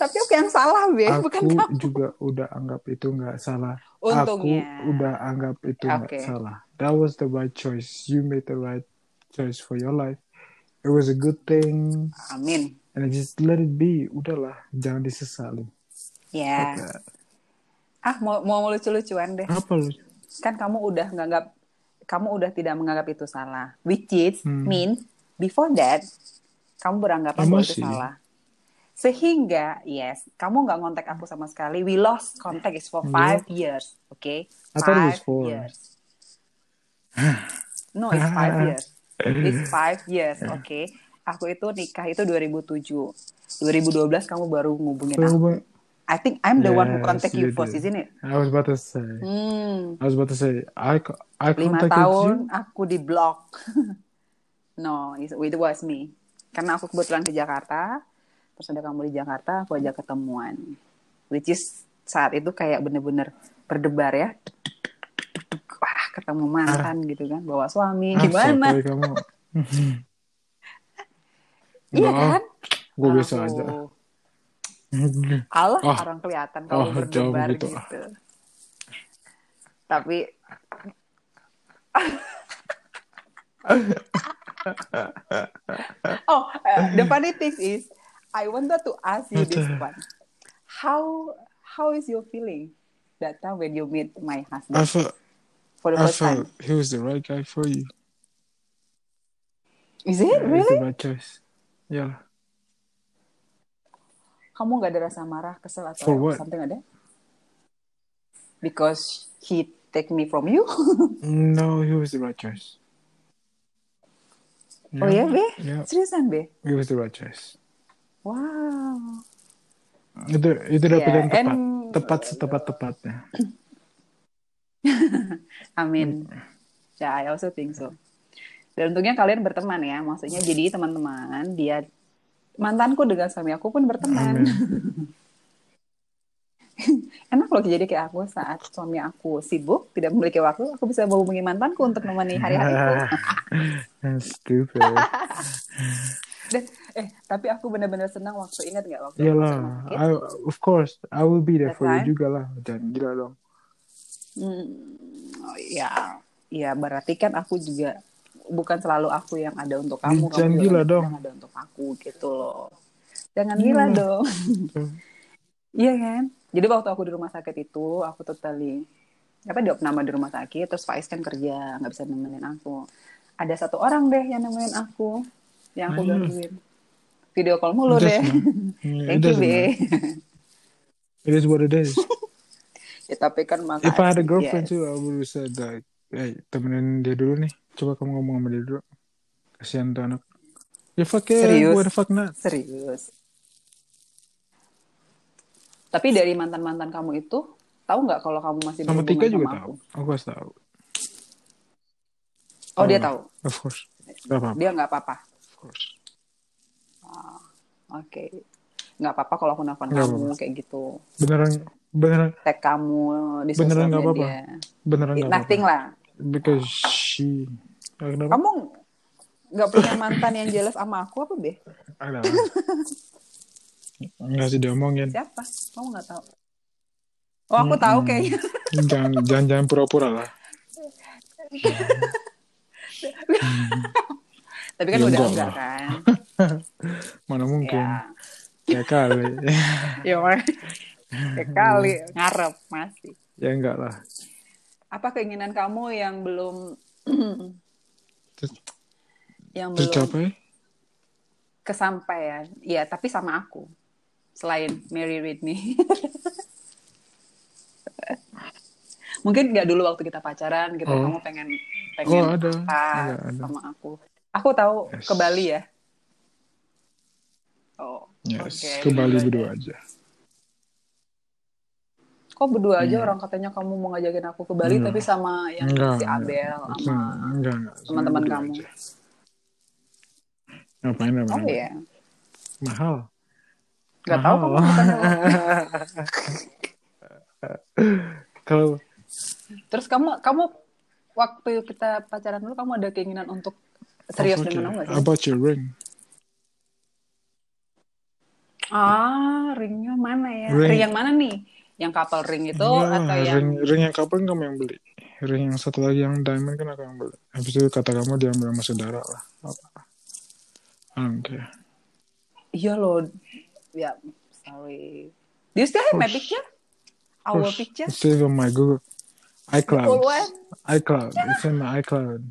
Speaker 1: Tapi aku yang salah, Be. <laughs> Bukan
Speaker 2: Aku
Speaker 1: kamu.
Speaker 2: juga udah anggap itu nggak salah.
Speaker 1: Untungnya.
Speaker 2: Aku udah anggap itu nggak
Speaker 1: Oke.
Speaker 2: salah. That was the right choice. You made the right choice for your life. It was a good thing.
Speaker 1: Amin.
Speaker 2: And I just let it be. Udahlah, jangan disesali.
Speaker 1: Ya. Ah, mau mau lucu-lucuan deh.
Speaker 2: Apa lu?
Speaker 1: Kan kamu udah nganggap kamu udah tidak menganggap itu salah. Which is
Speaker 2: Hmm.
Speaker 1: mean before that kamu beranggapan bahwa itu
Speaker 2: Emosi.
Speaker 1: salah. Sehingga yes, kamu nggak kontak aku sama sekali. We lost contact is for five years, oke?
Speaker 2: Iya. I thought it was
Speaker 1: Five
Speaker 2: four.
Speaker 1: years. No, it's
Speaker 2: <laughs>
Speaker 1: five years. It's five years, oke? Aku itu nikah itu 2007. 2012 kamu baru ngubungin aku. I think I'm the one who
Speaker 2: Yes,
Speaker 1: contact you
Speaker 2: you
Speaker 1: first,
Speaker 2: did.
Speaker 1: isn't it?
Speaker 2: I was about to say.
Speaker 1: Hmm,
Speaker 2: I was about to say. I co- I
Speaker 1: lima
Speaker 2: contacted you.
Speaker 1: tahun aku di blok. <laughs> no, it it was me. Karena aku kebetulan ke Jakarta, terus ada kamu di Jakarta, aku ajak ketemuan. Which is saat itu kayak bener-bener berdebar ya. Wah, ketemu mantan gitu kan, bawa suami,
Speaker 2: Ah,
Speaker 1: gimana?
Speaker 2: sotoy kamu.
Speaker 1: <laughs> Iya kan?
Speaker 2: Gue biasa
Speaker 1: Aduh.
Speaker 2: aja.
Speaker 1: Allah
Speaker 2: <laughs> Oh.
Speaker 1: orang kelihatan kalau
Speaker 2: Oh, jauh
Speaker 1: berdebar
Speaker 2: begitu.
Speaker 1: gitu.
Speaker 2: <laughs>
Speaker 1: Tapi Oh, uh, the funny thing is I wanted to ask you this one. How how is your feeling that time when you meet my husband
Speaker 2: I felt
Speaker 1: for the
Speaker 2: I
Speaker 1: first
Speaker 2: felt
Speaker 1: time?
Speaker 2: he was the right guy for you.
Speaker 1: Is it
Speaker 2: Yeah, He's
Speaker 1: really?
Speaker 2: the right choice. Yeah.
Speaker 1: Kamu nggak ada rasa marah, kesel atau
Speaker 2: For what?
Speaker 1: something ada? Because he take me from you. <laughs>
Speaker 2: No, he was the right choice.
Speaker 1: oh ya, Be?
Speaker 2: Yeah,
Speaker 1: Seriusan, Be?
Speaker 2: he was the right choice.
Speaker 1: Wow.
Speaker 2: Itu itu udah
Speaker 1: Yeah,
Speaker 2: pilihan tepat,
Speaker 1: and-
Speaker 2: tepat setepat tepatnya.
Speaker 1: I mean, yeah, Ya, I also think so. Dan untungnya kalian berteman ya, maksudnya jadi teman-teman. Dia mantanku dengan suami aku pun berteman. <laughs> Enak loh jadi kayak aku saat suami aku sibuk, tidak memiliki waktu, aku bisa menghubungi mantanku untuk menemani
Speaker 2: <laughs>
Speaker 1: hari-hariku.
Speaker 2: That's stupid.
Speaker 1: Dan, eh, tapi aku benar-benar senang waktu ingat nggak waktu aku
Speaker 2: Iyalah,
Speaker 1: rumah sakit?
Speaker 2: I- of course, I will be there
Speaker 1: That's
Speaker 2: for
Speaker 1: right.
Speaker 2: you juga lah. Jangan gila dong.
Speaker 1: Hmm, oh, ya, ya berarti kan aku juga bukan selalu aku yang ada untuk kamu, kamu
Speaker 2: Jangan
Speaker 1: juga
Speaker 2: gila
Speaker 1: kadang
Speaker 2: dong. Hmm.
Speaker 1: ada untuk aku gitu loh. Jangan gila dong. Iya kan? Jadi waktu aku di rumah sakit itu, aku totally apa dia nama di rumah sakit, terus Faiz kan kerja, nggak bisa nemenin aku. Ada satu orang deh yang nemenin aku, yang aku
Speaker 2: Hmm.
Speaker 1: gangguin. Video call mulu <laughs>
Speaker 2: It
Speaker 1: deh.
Speaker 2: doesn't matter. It
Speaker 1: Thank you,
Speaker 2: doesn't
Speaker 1: Be.
Speaker 2: matter. It is what it is.
Speaker 1: <laughs> Ya, tapi kan makasih.
Speaker 2: If I had a
Speaker 1: yes.
Speaker 2: girlfriend too, I would have said like, hey, temenin dia dulu nih. Coba kamu ngomong sama dia dulu. Kasihan tuh anak. Ya fuck yeah,
Speaker 1: Serius?
Speaker 2: why the fuck not?
Speaker 1: Serius. Tapi dari mantan-mantan kamu itu, tahu nggak kalau kamu masih
Speaker 2: Sama
Speaker 1: berhubungan
Speaker 2: Tika
Speaker 1: sama
Speaker 2: juga
Speaker 1: aku?
Speaker 2: tahu. Aku harus tahu.
Speaker 1: Oh, dia
Speaker 2: Oh.
Speaker 1: tahu.
Speaker 2: Of course. Gak apa-apa.
Speaker 1: Dia nggak apa-apa.
Speaker 2: Of course.
Speaker 1: Oke. Nggak apa-apa kalau aku nelfon
Speaker 2: Nggak
Speaker 1: kamu kayak gitu.
Speaker 2: Beneran, beneran,
Speaker 1: Tag kamu di sosial
Speaker 2: Beneran nggak
Speaker 1: media.
Speaker 2: apa-apa? beneran gak apa-apa.
Speaker 1: Nothing lah.
Speaker 2: Because she... Ah, Kenapa?
Speaker 1: Kamu nggak punya mantan yang jelas sama aku apa, Be?
Speaker 2: Ada. Enggak sih diomongin.
Speaker 1: Siapa? Kamu nggak tahu. Oh, aku tahu
Speaker 2: Hmm.
Speaker 1: kayaknya. <laughs>
Speaker 2: Jangan jangan jangan pura-pura lah.
Speaker 1: Tapi kan
Speaker 2: Ya,
Speaker 1: udah
Speaker 2: enggak
Speaker 1: enggak
Speaker 2: lah.
Speaker 1: kan?
Speaker 2: Mana
Speaker 1: Ya.
Speaker 2: mungkin. Ya kali. <laughs>
Speaker 1: Ya, Mar. <laughs> Ya kali ngarep masih.
Speaker 2: ya enggak lah.
Speaker 1: Apa keinginan kamu yang belum
Speaker 2: Ter-
Speaker 1: yang belum
Speaker 2: Tercapai?
Speaker 1: kesampaian? Iya, tapi sama aku. Selain Mary Read Me. <laughs> Mungkin nggak dulu waktu kita pacaran gitu
Speaker 2: Oh.
Speaker 1: kamu pengen pengen
Speaker 2: Oh, ada.
Speaker 1: apa
Speaker 2: Ada, ada.
Speaker 1: sama aku. Aku tahu
Speaker 2: Yes.
Speaker 1: ke Bali ya. Oh.
Speaker 2: Yes,
Speaker 1: oke. Iya,
Speaker 2: ke Bali berdua aja.
Speaker 1: Kok berdua aja
Speaker 2: Hmm.
Speaker 1: orang katanya kamu mau ngajakin aku ke Bali
Speaker 2: Enggak.
Speaker 1: tapi sama yang
Speaker 2: Enggak.
Speaker 1: si Abel
Speaker 2: enggak.
Speaker 1: sama
Speaker 2: Hmm, Enggak, enggak. Cuma
Speaker 1: teman-teman
Speaker 2: berdua
Speaker 1: kamu.
Speaker 2: aja. Ngapain namanya?
Speaker 1: Oh iya.
Speaker 2: Mahal.
Speaker 1: Gak tahu kamu
Speaker 2: Mahal.
Speaker 1: bukannya lo.
Speaker 2: <laughs> Kalau
Speaker 1: Terus kamu kamu waktu kita pacaran dulu kamu ada keinginan untuk serius
Speaker 2: Oh, okay.
Speaker 1: dengan aku gak sih?
Speaker 2: How about your ring?
Speaker 1: Ah, ringnya mana ya?
Speaker 2: Ring.
Speaker 1: Ring, yang mana nih? Yang couple ring itu
Speaker 2: Enggak,
Speaker 1: atau yang
Speaker 2: ring, ring yang kapan kamu yang beli? Ring yang satu lagi yang diamond kan aku yang beli. Habis itu kata kamu diambil sama saudara lah. Apa? Oke.
Speaker 1: Iya loh. Ya, sorry. Do you still have my
Speaker 2: Push.
Speaker 1: picture? Our picture?
Speaker 2: Save on my Google. iCloud.
Speaker 1: The old one?
Speaker 2: iCloud. It's in my iCloud.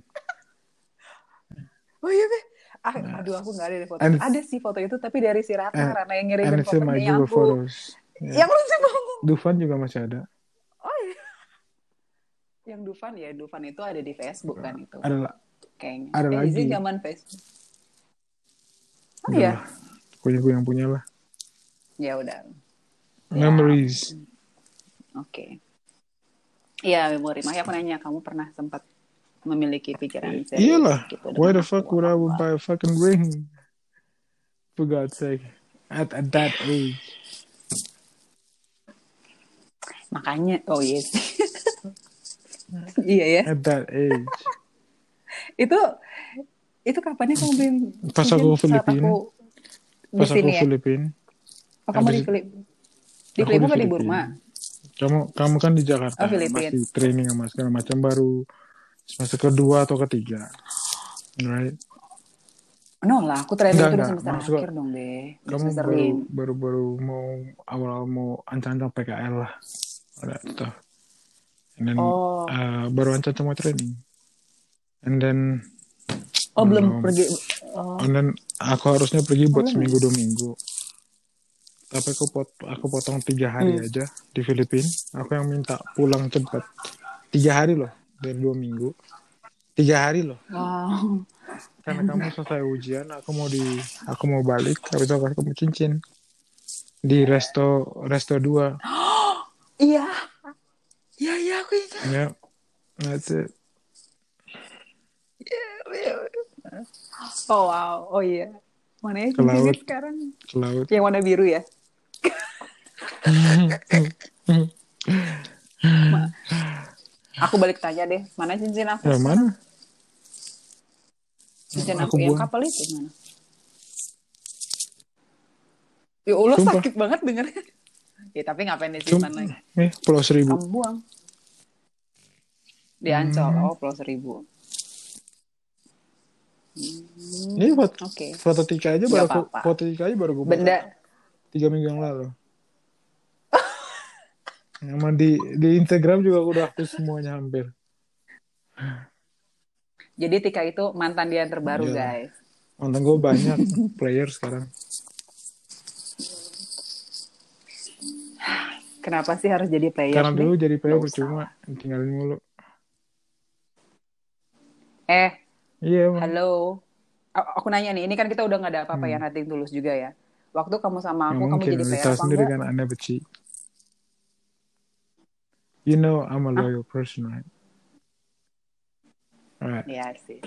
Speaker 1: Oh iya, Be. Ah, aduh aku gak ada deh foto.
Speaker 2: Nah. And-
Speaker 1: Ada sih foto itu tapi dari si Ratna,
Speaker 2: And-
Speaker 1: Ratna yang
Speaker 2: And
Speaker 1: ngirimin
Speaker 2: it's in my
Speaker 1: fotonya
Speaker 2: Google
Speaker 1: aku.
Speaker 2: Photos. Yeah.
Speaker 1: Yang lucu banget.
Speaker 2: Dufan juga masih ada.
Speaker 1: Oh iya. Yang Dufan ya, Dufan itu ada di Facebook kan itu.
Speaker 2: Ada lah.
Speaker 1: Kayaknya.
Speaker 2: ada
Speaker 1: eh,
Speaker 2: lagi.
Speaker 1: Izzy zaman Facebook. Oh
Speaker 2: Udah
Speaker 1: iya.
Speaker 2: lah. Pokoknya gue yang punya lah.
Speaker 1: Ya udah. Iya.
Speaker 2: Memories.
Speaker 1: Oke. Iya, memori. Makanya aku nanya, kamu pernah sempat memiliki pikiran serius
Speaker 2: Iyalah.
Speaker 1: gitu
Speaker 2: Why the
Speaker 1: dengan
Speaker 2: fuck
Speaker 1: aku,
Speaker 2: would I
Speaker 1: apa-apa?
Speaker 2: would buy a fucking ring? For God's sake. At, at that age.
Speaker 1: Makanya, oh yes. <laughs> iya ya.
Speaker 2: At that age.
Speaker 1: Itu itu kapannya kamu beli?
Speaker 2: Pas aku
Speaker 1: mungkin saat
Speaker 2: Filipina.
Speaker 1: aku <laughs> di
Speaker 2: Pas
Speaker 1: sini
Speaker 2: aku
Speaker 1: ya.
Speaker 2: Filipina.
Speaker 1: Oh, kamu di
Speaker 2: habis-
Speaker 1: Filip. Di Filipina
Speaker 2: aku di
Speaker 1: apa di
Speaker 2: Filipina.
Speaker 1: Burma?
Speaker 2: Kamu kamu kan di Jakarta.
Speaker 1: Oh, Filipina.
Speaker 2: masih training sama segala macam baru semester kedua atau ketiga. Right?
Speaker 1: No lah, aku terakhir itu
Speaker 2: Enggak,
Speaker 1: di
Speaker 2: enggak.
Speaker 1: semester
Speaker 2: Maksud gua,
Speaker 1: akhir dong, Be. Di
Speaker 2: Kamu
Speaker 1: semester
Speaker 2: baru,
Speaker 1: lima.
Speaker 2: baru baru mau awal-awal mau ancang-ancang PKL lah. Ada itu. And then
Speaker 1: Oh,
Speaker 2: uh, baru ancang-ancang mau training. And then
Speaker 1: oh belum
Speaker 2: belum.
Speaker 1: pergi. Oh,
Speaker 2: and then aku harusnya pergi
Speaker 1: Belum
Speaker 2: buat
Speaker 1: ya?
Speaker 2: seminggu dua minggu. Tapi aku pot, aku potong tiga hari
Speaker 1: Hmm.
Speaker 2: aja di Filipina. Aku yang minta pulang cepat. Tiga hari loh dari dua minggu. Tiga hari loh.
Speaker 1: wow.
Speaker 2: karena kamu selesai ujian aku mau di aku mau balik habis itu aku kasih kamu cincin di resto resto dua
Speaker 1: Iya. Iya, iya, aku ingat.
Speaker 2: ya that's it
Speaker 1: Oh, wow. Oh, iya. Mana ya
Speaker 2: Ke
Speaker 1: cincinnya
Speaker 2: laut.
Speaker 1: sekarang?
Speaker 2: ke laut
Speaker 1: <laughs> Yang warna biru ya? Ma- aku balik tanya deh, mana cincin aku?
Speaker 2: ya mana
Speaker 1: Cincin
Speaker 2: Ya, Aku
Speaker 1: aku, yang
Speaker 2: buang.
Speaker 1: kapal itu mana? Ya Allah,
Speaker 2: Sumpah.
Speaker 1: sakit banget dengernya. Ya, tapi ngapain disimpan
Speaker 2: cuma
Speaker 1: lagi? Oh.
Speaker 2: eh pulau seribu
Speaker 1: Kamu buang. Di Ancol, oh Pulau Seribu. Hmm,
Speaker 2: ini buat
Speaker 1: Oke.
Speaker 2: foto tiga aja
Speaker 1: Nggak
Speaker 2: baru aku,
Speaker 1: apa-apa.
Speaker 2: foto tiga aja baru gue
Speaker 1: Benda
Speaker 2: tiga minggu yang lalu sama di di Instagram juga aku udah hapus semuanya hampir
Speaker 1: Jadi Tika itu mantan dia yang terbaru,
Speaker 2: Iya.
Speaker 1: guys.
Speaker 2: mantan gue banyak player sekarang
Speaker 1: Kenapa sih harus jadi player?
Speaker 2: karena
Speaker 1: nih?
Speaker 2: dulu jadi player
Speaker 1: Nggak usah.
Speaker 2: percuma tinggalin mulu
Speaker 1: Eh,
Speaker 2: iya emang.
Speaker 1: halo. A- Aku nanya nih, ini kan kita udah nggak ada apa-apa ya, nothing tulus juga ya. Waktu kamu sama aku,
Speaker 2: Ya
Speaker 1: kamu
Speaker 2: Hmm. mungkin
Speaker 1: jadi
Speaker 2: lu
Speaker 1: player
Speaker 2: tahu
Speaker 1: apa
Speaker 2: sendiri
Speaker 1: enggak?
Speaker 2: kan Anda benci. You know I'm
Speaker 1: Ah.
Speaker 2: a loyal person, right? Right.
Speaker 1: Iya sih.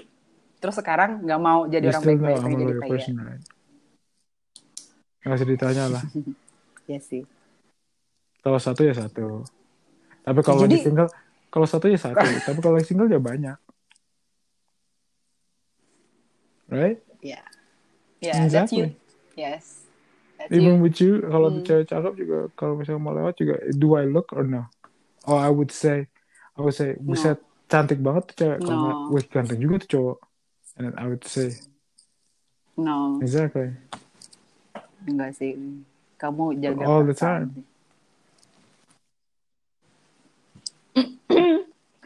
Speaker 1: Terus sekarang nggak mau jadi
Speaker 2: You
Speaker 1: orang
Speaker 2: kan. still know
Speaker 1: baik-baik,
Speaker 2: I'm
Speaker 1: pengen
Speaker 2: a
Speaker 1: jadi
Speaker 2: loyal
Speaker 1: player.
Speaker 2: person, right? Gak usah ditanya lah.
Speaker 1: Iya sih.
Speaker 2: Kalau satu ya satu. Tapi kalau
Speaker 1: Jadi-
Speaker 2: lagi single, kalau satu ya
Speaker 1: <laughs>
Speaker 2: satu. Tapi kalau lagi single ya banyak. Right?
Speaker 1: Iya. Iya, that's you.
Speaker 2: Exactly.
Speaker 1: Yes. That's you.
Speaker 2: Even with you, kalau
Speaker 1: Iya. Hmm.
Speaker 2: cewek cakep juga, kalau misalnya mau lewat juga, do I look or no? Oh, I would say, I would say,
Speaker 1: No.
Speaker 2: buset cantik banget tuh cewek. Kalau
Speaker 1: No.
Speaker 2: nggak, wih ganteng juga tuh cowok. And then I would say,
Speaker 1: No,
Speaker 2: exactly.
Speaker 1: enggak sih. Kamu jaga
Speaker 2: All the
Speaker 1: perasaan
Speaker 2: time.
Speaker 1: sih.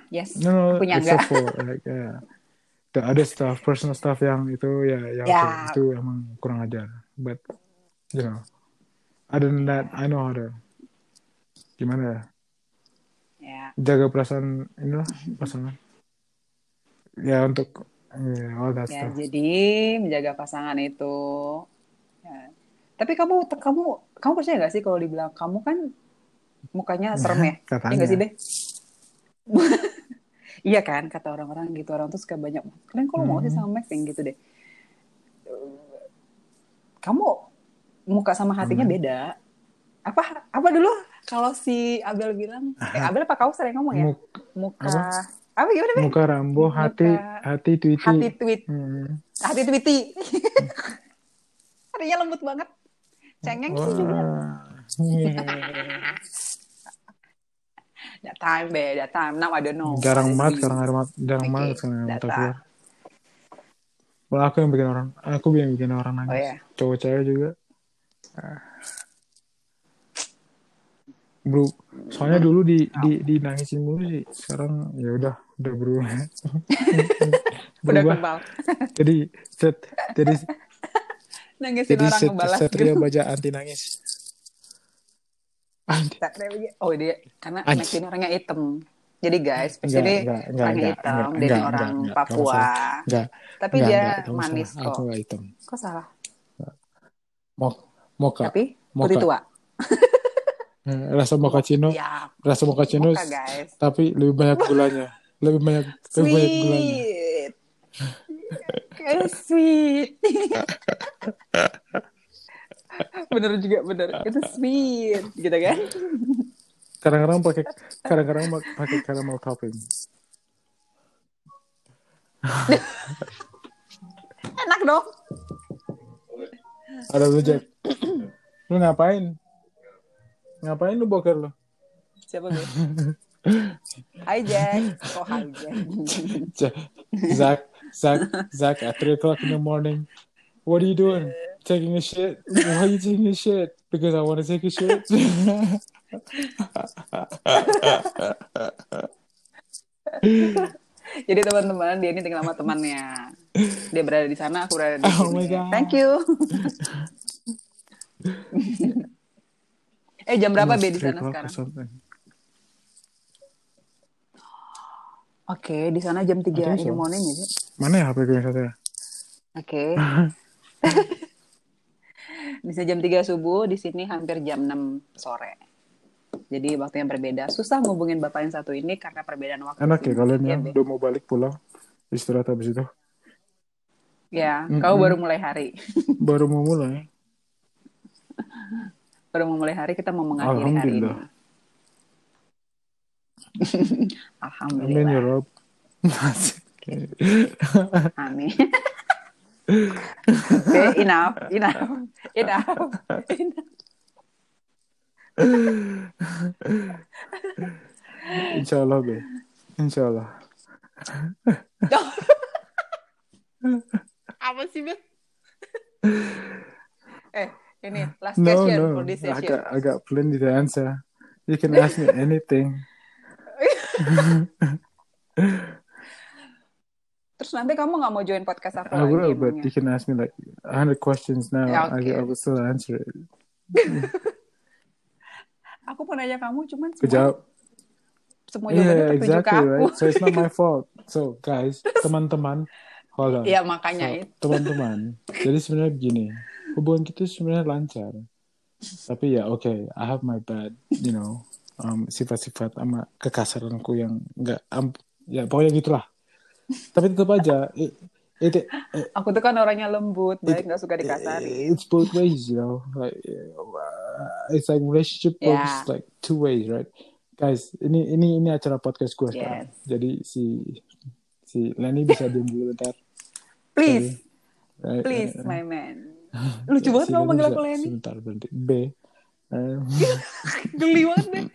Speaker 1: Yes.
Speaker 2: No, no,
Speaker 1: Punya
Speaker 2: except for like, ya. yeah. The other stuff, personal stuff yang itu ya, yang
Speaker 1: Ya.
Speaker 2: itu emang kurang ajar. But you know, other than that, I know how to gimana ya
Speaker 1: Ya.
Speaker 2: jaga perasaan inilah pasangan. Ya untuk yeah, all that
Speaker 1: Ya,
Speaker 2: stuff.
Speaker 1: jadi menjaga pasangan itu. Ya. Tapi kamu kamu kamu percaya nggak sih kalau dibilang kamu kan mukanya serem ya? Iya
Speaker 2: <laughs> Katanya.
Speaker 1: nggak sih deh? <laughs> iya kan kata orang-orang gitu orang tuh suka banyak. Kalian kalau mau sih
Speaker 2: Hmm.
Speaker 1: sama Max yang gitu deh. Kamu muka sama hatinya
Speaker 2: Amin.
Speaker 1: beda. Apa apa dulu kalau si Abel bilang eh, Abel apa kau sering ngomong ya?
Speaker 2: Muk-
Speaker 1: Muka
Speaker 2: apa?
Speaker 1: apa, gimana Be?
Speaker 2: muka Rambo,
Speaker 1: Muka-
Speaker 2: hati hati Tweety.
Speaker 1: Hati tweet
Speaker 2: Hmm.
Speaker 1: hati twiti hatinya lembut banget cengeng sih gitu juga
Speaker 2: Iya. Wah.
Speaker 1: that time be that time now I don't know
Speaker 2: jarang
Speaker 1: Oh, I
Speaker 2: banget
Speaker 1: see.
Speaker 2: sekarang jarang, jarang
Speaker 1: Oke,
Speaker 2: banget sekarang yang
Speaker 1: data.
Speaker 2: muka keluar. Wah, aku yang bikin orang, aku yang bikin orang nangis.
Speaker 1: oh ya
Speaker 2: Cowok cewek juga. Ah. Bro, soalnya
Speaker 1: Hmm.
Speaker 2: dulu di di dinangisin mulu sih. Sekarang ya udah udah
Speaker 1: <laughs>
Speaker 2: berubah.
Speaker 1: udah
Speaker 2: berubah.
Speaker 1: kebal
Speaker 2: Jadi set
Speaker 1: <laughs>
Speaker 2: jadi
Speaker 1: nangisin
Speaker 2: jadi
Speaker 1: orang
Speaker 2: set,
Speaker 1: ngebalas
Speaker 2: Satria
Speaker 1: gitu
Speaker 2: baja anti
Speaker 1: <laughs>
Speaker 2: nangis. Anti
Speaker 1: Satria Baja. oh dia karena
Speaker 2: Anj-
Speaker 1: Maxine orangnya hitam jadi guys
Speaker 2: Enggak,
Speaker 1: jadi
Speaker 2: enggak, enggak,
Speaker 1: orangnya
Speaker 2: enggak,
Speaker 1: hitam
Speaker 2: enggak,
Speaker 1: dia
Speaker 2: enggak,
Speaker 1: orang
Speaker 2: enggak, enggak, kamu
Speaker 1: Papua
Speaker 2: salah. Enggak,
Speaker 1: tapi
Speaker 2: enggak,
Speaker 1: dia
Speaker 2: enggak, kamu
Speaker 1: manis
Speaker 2: salah. Aku
Speaker 1: kok
Speaker 2: enggak hitam.
Speaker 1: kok salah
Speaker 2: Mok, moka,
Speaker 1: tapi putih
Speaker 2: moka.
Speaker 1: tua
Speaker 2: Eh, Rasa mochaccino,
Speaker 1: ya
Speaker 2: rasa mochaccino,
Speaker 1: moka guys
Speaker 2: tapi
Speaker 1: <laughs>
Speaker 2: lebih banyak gulanya. Lebih banyak,
Speaker 1: Kan
Speaker 2: lebih banyak gulanya.
Speaker 1: Sweet. Eh, sweet. <laughs> bener juga bener. Itu sweet gitu kan?
Speaker 2: Kadang-kadang pakai, kadang-kadang mak- pakai caramel topping.
Speaker 1: Enak dong.
Speaker 2: Ada lu
Speaker 1: <clears throat>
Speaker 2: Jack. Lu ngapain? Ngapain lu boker lu?
Speaker 1: Siapa gue? Hai Jack. Kok hai Jack?
Speaker 2: Jack, Zach, Zach, Zach at 3 o'clock in the morning. What are you doing? Taking a shit? Why are you taking a shit? Because I want to take a shit.
Speaker 1: Jadi teman-teman dia ini tinggal sama temannya. Dia berada di sana, aku berada di sini.
Speaker 2: Oh my God.
Speaker 1: Thank
Speaker 2: <laughs>
Speaker 1: you. eh jam <laughs> berapa Be di
Speaker 2: Almost three
Speaker 1: sana
Speaker 2: o'clock or
Speaker 1: sekarang?
Speaker 2: something.
Speaker 1: Oke, di sana jam 3
Speaker 2: I think
Speaker 1: in the
Speaker 2: so.
Speaker 1: morning ya, sih?
Speaker 2: Mana ya HP gue yang satu ya?
Speaker 1: Oke. Bisa jam 3 subuh, di sini hampir jam 6 sore. Jadi waktu yang berbeda. Susah ngubungin bapak yang satu ini karena perbedaan waktu.
Speaker 2: Enak
Speaker 1: sih.
Speaker 2: ya kalian
Speaker 1: Iya,
Speaker 2: yang
Speaker 1: Be.
Speaker 2: udah mau balik pulang istirahat habis itu
Speaker 1: Ya,
Speaker 2: Mm-mm.
Speaker 1: kau baru mulai hari.
Speaker 2: baru mau mulai.
Speaker 1: Baru mau mulai hari kita mau mengakhiri hari ini.
Speaker 2: Alhamdulillah. Amin ya
Speaker 1: <laughs> Alhamdulillah.
Speaker 2: Rob.
Speaker 1: Amin. <laughs> Oke, enough, enough, enough, enough.
Speaker 2: Insya Allah be. Insya Allah.
Speaker 1: Apa sih, Bel? eh, ini last
Speaker 2: No
Speaker 1: question
Speaker 2: no.
Speaker 1: for this
Speaker 2: I
Speaker 1: session.
Speaker 2: got I got plenty to answer. gitu ya, You can ask me
Speaker 1: <laughs>
Speaker 2: anything.
Speaker 1: Terus nanti kamu nggak mau join podcast aku
Speaker 2: I
Speaker 1: lagi
Speaker 2: will, but
Speaker 1: emangnya?
Speaker 2: you can ask me like hundred questions now.
Speaker 1: Yeah,
Speaker 2: I-
Speaker 1: okay.
Speaker 2: I, will still answer it.
Speaker 1: Aku mau nanya kamu, cuman semua,
Speaker 2: Good job.
Speaker 1: semua jawabannya
Speaker 2: Yeah,
Speaker 1: tertuju ke
Speaker 2: Iya, exactly,
Speaker 1: aku.
Speaker 2: right? So it's not my fault. So guys,
Speaker 1: <laughs>
Speaker 2: teman-teman, hold on.
Speaker 1: Iya,
Speaker 2: So,
Speaker 1: makanya itu.
Speaker 2: teman-teman, jadi sebenarnya begini, hubungan kita sebenarnya lancar. Tapi ya oke, I have my bad, you know, um, sifat-sifat sama kekasaranku yang nggak, am- ya pokoknya gitulah. Tapi tetap aja, it, it-
Speaker 1: Aku tuh kan orangnya lembut, baik nggak suka dikasari.
Speaker 2: it's both ways, you know. Like uh, it's like relationship
Speaker 1: Yeah.
Speaker 2: works like two ways, right? Guys, ini ini ini acara podcast gue sekarang.
Speaker 1: Yes.
Speaker 2: Jadi si si Lenny bisa diam dulu bentar.
Speaker 1: Please,
Speaker 2: Iya, Right?
Speaker 1: please,
Speaker 2: Eh,
Speaker 1: my
Speaker 2: <laughs>
Speaker 1: man. Lucu
Speaker 2: eh,
Speaker 1: banget
Speaker 2: si
Speaker 1: kamu
Speaker 2: Lenny
Speaker 1: manggil
Speaker 2: bisa-
Speaker 1: aku Lenny.
Speaker 2: Sebentar berhenti. B. Eh,
Speaker 1: Geli banget
Speaker 2: <laughs>
Speaker 1: deh.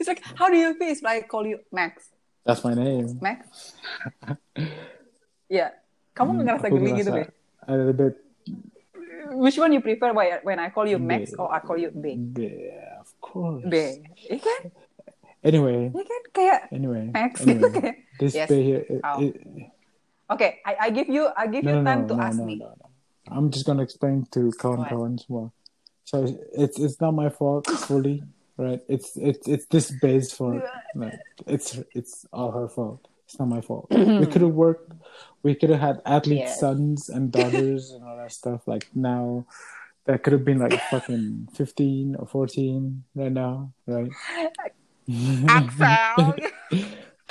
Speaker 1: It's like, how do you feel if I call you Max?
Speaker 2: that's my name. <laughs>
Speaker 1: Max? Ya. Kamu nggak ngerasa
Speaker 2: Hmm, Aku
Speaker 1: geli gitu,
Speaker 2: ngerasa
Speaker 1: Be?
Speaker 2: A little bit
Speaker 1: Which one you prefer why- when I call you Max
Speaker 2: B.
Speaker 1: or I call you B?
Speaker 2: B, of course.
Speaker 1: B. Iya kan?
Speaker 2: Anyway,
Speaker 1: Iya kan? Kayak
Speaker 2: anyway,
Speaker 1: Max gitu
Speaker 2: anyway.
Speaker 1: kayak.
Speaker 2: This
Speaker 1: Yes.
Speaker 2: B here, it-
Speaker 1: Oh.
Speaker 2: it-
Speaker 1: Oke, I, I give you I give you
Speaker 2: no, no,
Speaker 1: time
Speaker 2: no,
Speaker 1: to
Speaker 2: no,
Speaker 1: ask
Speaker 2: no,
Speaker 1: me.
Speaker 2: no, no. I'm just gonna explain to Colin
Speaker 1: What?
Speaker 2: Collins more. So it's it's not my fault fully, right? It's it's it's this base
Speaker 1: <laughs>
Speaker 2: for like, it's it's all her fault. It's not my
Speaker 1: <clears throat>
Speaker 2: fault. we could have worked. We could have had athletes'
Speaker 1: Yes.
Speaker 2: sons
Speaker 1: <laughs>
Speaker 2: and daughters and all that stuff. Like now, that could have been
Speaker 1: <laughs>
Speaker 2: like fucking fifteen or fourteen right now, right?
Speaker 1: Axel.
Speaker 2: <laughs>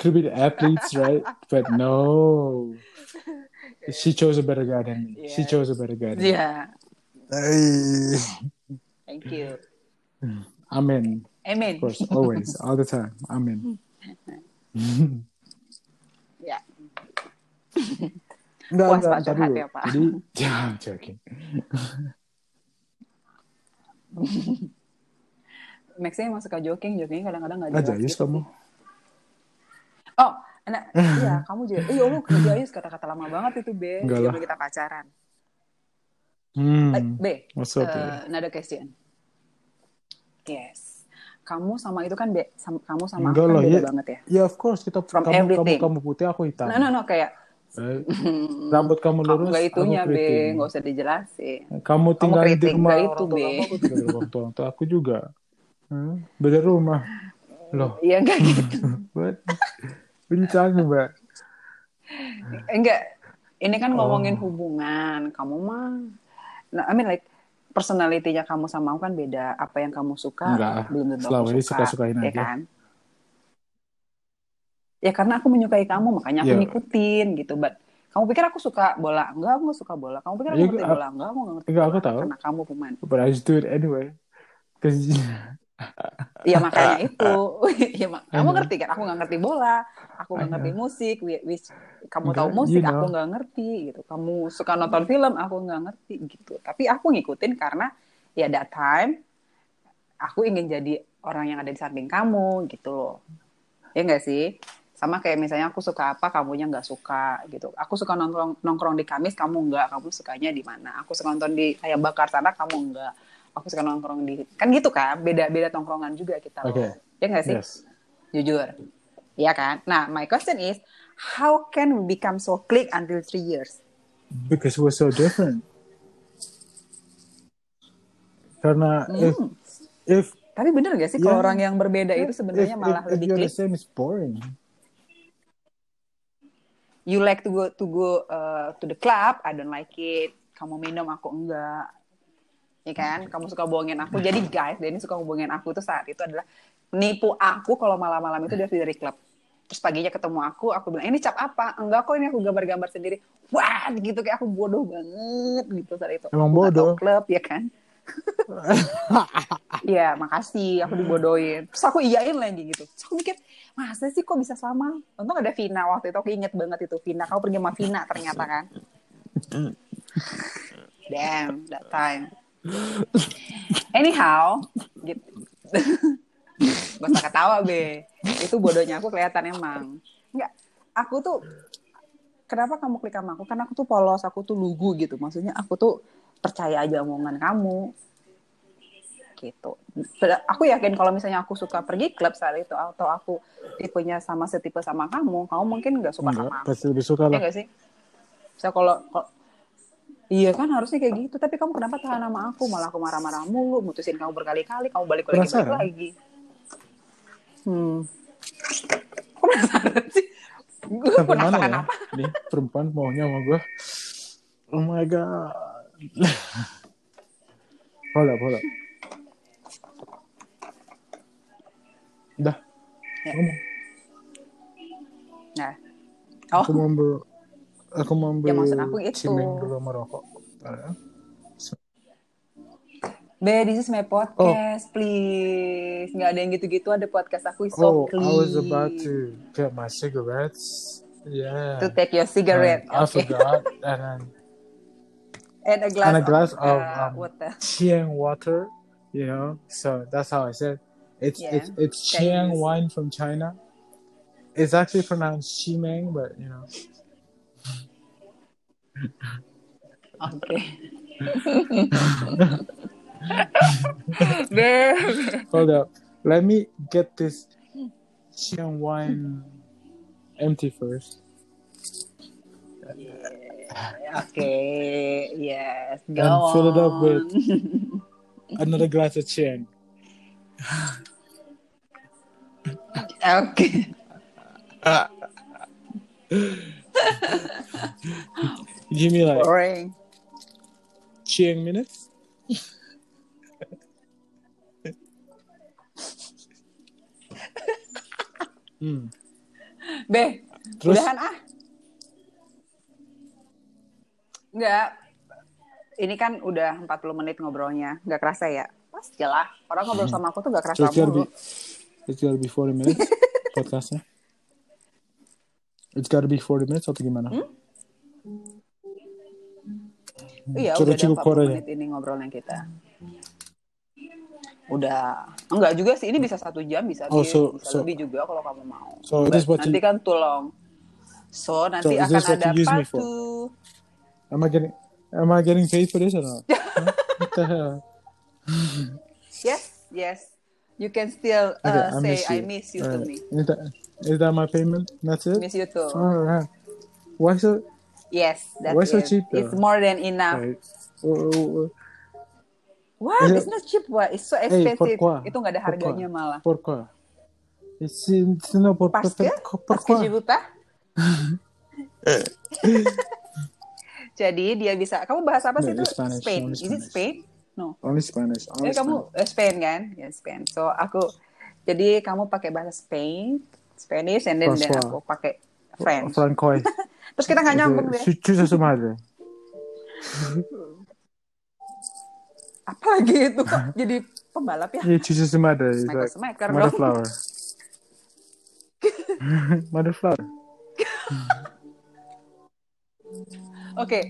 Speaker 2: Could be the athletes, right?
Speaker 1: <laughs>
Speaker 2: But no, she chose a better guy than me. She
Speaker 1: Yes.
Speaker 2: chose a better guy. Than me.
Speaker 1: Iya.
Speaker 2: Hey.
Speaker 1: Thank you.
Speaker 2: I'm in,
Speaker 1: Amin. <laughs>
Speaker 2: of course, always, all the time. I'm in.
Speaker 1: Ya.
Speaker 2: Enggak,
Speaker 1: Puas,
Speaker 2: enggak,
Speaker 1: Pak,
Speaker 2: ntar
Speaker 1: curhat
Speaker 2: dulu.
Speaker 1: ya, Pak.
Speaker 2: Jadi, <laughs> yeah, I'm joking.
Speaker 1: Maxnya emang suka joking, jokingnya kadang-kadang nggak
Speaker 2: Nggak
Speaker 1: jelas.
Speaker 2: Ah, jayus
Speaker 1: gitu
Speaker 2: kamu.
Speaker 1: sih. Oh,
Speaker 2: <laughs>
Speaker 1: anak, iya kamu juga. Iya lu kerja Yus, kata-kata lama banget itu B.
Speaker 2: Enggak
Speaker 1: Sebelum
Speaker 2: lah.
Speaker 1: kita pacaran.
Speaker 2: Hmm.
Speaker 1: Eh, B,
Speaker 2: What's
Speaker 1: eh,
Speaker 2: up, babe?
Speaker 1: another question. Yes. Kamu sama itu kan, Be, sam- kamu sama
Speaker 2: Enggak
Speaker 1: aku
Speaker 2: lah,
Speaker 1: kan beda
Speaker 2: ya.
Speaker 1: banget ya.
Speaker 2: Ya, of course, kita
Speaker 1: From
Speaker 2: kamu,
Speaker 1: everything.
Speaker 2: kamu, kamu putih, aku hitam.
Speaker 1: No, no, no, kayak
Speaker 2: Eh, Rambut kamu
Speaker 1: kamu
Speaker 2: lurus,
Speaker 1: nggak
Speaker 2: aku
Speaker 1: itunya, B.
Speaker 2: keriting.
Speaker 1: Nggak usah dijelasin.
Speaker 2: Kamu tinggal di
Speaker 1: keriting,
Speaker 2: rumah
Speaker 1: nggak
Speaker 2: orang
Speaker 1: itu,
Speaker 2: tua
Speaker 1: Be.
Speaker 2: kamu, aku tinggal di rumah orang tua aku juga. Hmm? Beda rumah. Loh,
Speaker 1: Iya, enggak
Speaker 2: <laughs>
Speaker 1: gitu.
Speaker 2: what? Bincang, Mbak.
Speaker 1: Eh, Enggak. Ini kan ngomongin
Speaker 2: Oh.
Speaker 1: hubungan. Kamu mah, nah, I mean like, personalitinya kamu sama aku kan beda. Apa yang kamu suka,
Speaker 2: Enggak.
Speaker 1: belum tentu
Speaker 2: Selama
Speaker 1: aku
Speaker 2: ini
Speaker 1: suka.
Speaker 2: suka-sukain
Speaker 1: ya
Speaker 2: aja.
Speaker 1: kan? Ya karena aku menyukai kamu, makanya aku
Speaker 2: Ya.
Speaker 1: ngikutin gitu. But kamu pikir aku suka bola? Enggak, aku nggak suka bola. Kamu pikir aku
Speaker 2: Ya,
Speaker 1: ngerti
Speaker 2: aku-
Speaker 1: bola? Enggak, aku nggak ngerti
Speaker 2: Enggak, aku
Speaker 1: bola.
Speaker 2: tahu.
Speaker 1: Karena kamu pemain.
Speaker 2: But I just do it anyway. Cause
Speaker 1: Ya makanya itu. <laughs> ya, mak- kamu
Speaker 2: know.
Speaker 1: ngerti kan? Aku nggak ngerti bola. Aku nggak
Speaker 2: I
Speaker 1: ngerti musik. Wi- Which, kamu
Speaker 2: Enggak,
Speaker 1: tahu musik,
Speaker 2: you know.
Speaker 1: aku nggak ngerti gitu. Kamu suka nonton film, aku nggak ngerti gitu. Tapi aku ngikutin karena ya that time aku ingin jadi orang yang ada di samping kamu gitu loh. Ya enggak sih? sama kayak misalnya aku suka apa kamunya nggak suka gitu aku suka nongkrong nongkrong di Kamis kamu nggak kamu sukanya di mana aku suka nonton di ayam bakar sana kamu nggak aku suka nongkrong di kan gitu kan beda beda tongkrongan juga kita loh
Speaker 2: Okay.
Speaker 1: ya nggak sih
Speaker 2: Yes.
Speaker 1: jujur ya kan nah my question is how can we become so click until three years
Speaker 2: Because we're so different. Karena if
Speaker 1: Hmm.
Speaker 2: if
Speaker 1: tapi bener gak sih kalau
Speaker 2: Ya.
Speaker 1: orang yang berbeda itu sebenarnya
Speaker 2: if-
Speaker 1: malah
Speaker 2: if- if
Speaker 1: lebih
Speaker 2: you're
Speaker 1: klik
Speaker 2: the same, it's boring.
Speaker 1: you like to go to go uh, to the club, I don't like it. Kamu minum, aku enggak. Ya kan? Kamu suka bohongin aku. Jadi guys, Denny suka bohongin aku tuh saat itu adalah nipu aku kalau malam-malam itu dia dari klub. Terus paginya ketemu aku, aku bilang, "Eh, ini cap apa? Enggak kok, ini aku gambar-gambar sendiri. Wah, gitu kayak aku bodoh banget gitu saat itu.
Speaker 2: Emang
Speaker 1: Aku nggak tahu
Speaker 2: bodoh.
Speaker 1: klub ya
Speaker 2: <laughs>
Speaker 1: kan? Iya, makasih. Aku dibodohin. Terus aku iyain lagi gitu. Terus aku mikir, masa sih kok bisa sama? Untung ada Vina waktu itu. Aku inget banget itu. Vina, kau pergi sama Vina ternyata
Speaker 2: <laughs>
Speaker 1: kan. Damn, that time. Anyhow, gitu. <laughs> Gak usah ketawa, Be. Itu bodohnya aku kelihatan emang. Enggak, aku tuh kenapa kamu klik sama aku? Karena aku tuh polos, aku tuh lugu gitu. Maksudnya aku tuh percaya aja omongan kamu. Gitu. Ber- Aku yakin kalau misalnya aku suka pergi klub saat itu atau aku tipenya sama setipe sama kamu, kamu mungkin nggak suka
Speaker 2: Enggak,
Speaker 1: sama aku.
Speaker 2: pasti lebih suka
Speaker 1: Iya
Speaker 2: lah.
Speaker 1: nggak sih? Saya kalau kalau- Iya kan harusnya kayak gitu, tapi kamu kenapa tahan sama aku? Malah aku marah-marah mulu, mutusin kamu berkali-kali, kamu balik lagi balik
Speaker 2: Penasaran?
Speaker 1: lagi. Hmm. Kok penasaran sih? Gue
Speaker 2: Sampai mana
Speaker 1: penasaran
Speaker 2: ya?
Speaker 1: apa?
Speaker 2: Nih, perempuan maunya sama gue. Oh my god. Hold up, hold up. Dah,
Speaker 1: Ya.
Speaker 2: ngomong.
Speaker 1: Nah. Oh,
Speaker 2: Aku mau ber- aku mau ambil
Speaker 1: Ya, maksud aku gitu.
Speaker 2: cimeng dulu sama rokok. Eh,
Speaker 1: Be, this is my podcast,
Speaker 2: Oh.
Speaker 1: please. Nggak ada yang gitu-gitu, ada podcast aku, it's so
Speaker 2: Oh,
Speaker 1: clean.
Speaker 2: I was about to get my cigarettes. Yeah.
Speaker 1: To take your cigarette.
Speaker 2: And I
Speaker 1: okay.
Speaker 2: forgot. And then
Speaker 1: And a glass,
Speaker 2: And a glass
Speaker 1: of,
Speaker 2: of,
Speaker 1: uh,
Speaker 2: um,
Speaker 1: water.
Speaker 2: Qiang water, you know. So that's how I said. It's
Speaker 1: Yeah.
Speaker 2: it's it's Qiang
Speaker 1: Chinese.
Speaker 2: wine from China. It's actually pronounced Qimeng, but you know.
Speaker 1: Oke. Be.
Speaker 2: Hold up. Let me get this Qiang wine empty first.
Speaker 1: Oke, yes. Go
Speaker 2: And fill it up
Speaker 1: on.
Speaker 2: with Another glass of Qiang.
Speaker 1: Oke.
Speaker 2: Give me like
Speaker 1: Boring.
Speaker 2: Qiang minutes. Hmm.
Speaker 1: Be,
Speaker 2: Terus?
Speaker 1: udahan ah. Enggak. Ini kan udah 40 menit ngobrolnya. Nggak kerasa ya? Pasti lah. Orang ngobrol
Speaker 2: Hmm.
Speaker 1: sama aku tuh nggak
Speaker 2: So
Speaker 1: kerasa
Speaker 2: it's gotta
Speaker 1: mulu.
Speaker 2: be it's gotta be forty
Speaker 1: <laughs>
Speaker 2: minutes podcastnya. It's gotta be forty minutes atau gimana?
Speaker 1: Hmm? Iya, udah
Speaker 2: Sudah cukup
Speaker 1: ada 40
Speaker 2: korea.
Speaker 1: menit ini ngobrolnya kita. Udah, enggak juga sih. Ini bisa satu jam, bisa,
Speaker 2: Oh,
Speaker 1: bi-
Speaker 2: so-
Speaker 1: bisa
Speaker 2: so-
Speaker 1: lebih juga kalau kamu mau.
Speaker 2: So it is what
Speaker 1: nanti
Speaker 2: you,
Speaker 1: kan tulong. So nanti
Speaker 2: is
Speaker 1: akan
Speaker 2: this what
Speaker 1: ada
Speaker 2: you use me
Speaker 1: part
Speaker 2: for?
Speaker 1: two.
Speaker 2: am I getting am I getting paid for this or
Speaker 1: <laughs>
Speaker 2: not? Huh? What the
Speaker 1: Uh,
Speaker 2: hell?
Speaker 1: Yes, yes. You can still uh,
Speaker 2: Okay, I
Speaker 1: say
Speaker 2: miss
Speaker 1: I miss you
Speaker 2: you.
Speaker 1: to
Speaker 2: Alright.
Speaker 1: me.
Speaker 2: Is that is that my payment? That's it?
Speaker 1: Miss you too.
Speaker 2: Alright. Why so
Speaker 1: Yes, that's
Speaker 2: Why so
Speaker 1: it.
Speaker 2: cheap, though?
Speaker 1: It's more than enough.
Speaker 2: Wait. Oh, oh, oh.
Speaker 1: What?
Speaker 2: Iya.
Speaker 1: It's not cheap, what? It's so
Speaker 2: Hey,
Speaker 1: expensive.
Speaker 2: pourquoi?
Speaker 1: Itu nggak ada harganya
Speaker 2: Pourquoi?
Speaker 1: malah.
Speaker 2: Pourquoi? It's in it's in- no, pourquoi?
Speaker 1: Parce que, parce que je
Speaker 2: Pourquoi?
Speaker 1: veux
Speaker 2: <laughs>
Speaker 1: pas. Jadi dia bisa. Kamu bahas apa sih
Speaker 2: No,
Speaker 1: itu?
Speaker 2: it's Iya, Spanish,
Speaker 1: Spain.
Speaker 2: only
Speaker 1: Is it
Speaker 2: Spanish.
Speaker 1: Spain? No.
Speaker 2: Only Spanish.
Speaker 1: Eh
Speaker 2: Only
Speaker 1: kamu
Speaker 2: Spanish.
Speaker 1: eh, Spain kan? Ya Spain. So aku jadi kamu pakai bahasa Spain, Spanish, and then, then
Speaker 2: Francois.
Speaker 1: aku pakai French. <laughs> Ah,
Speaker 2: Francois.
Speaker 1: Terus kita nggak nyambung deh.
Speaker 2: Su- Cucu su
Speaker 1: <laughs>
Speaker 2: madre.
Speaker 1: Apalagi itu kok jadi pembalap ya?
Speaker 2: Yeah, cucu su madre is
Speaker 1: Michael
Speaker 2: like
Speaker 1: Schumacher
Speaker 2: mother
Speaker 1: dong.
Speaker 2: flower.
Speaker 1: <laughs>
Speaker 2: <laughs> mother flower.
Speaker 1: Oke,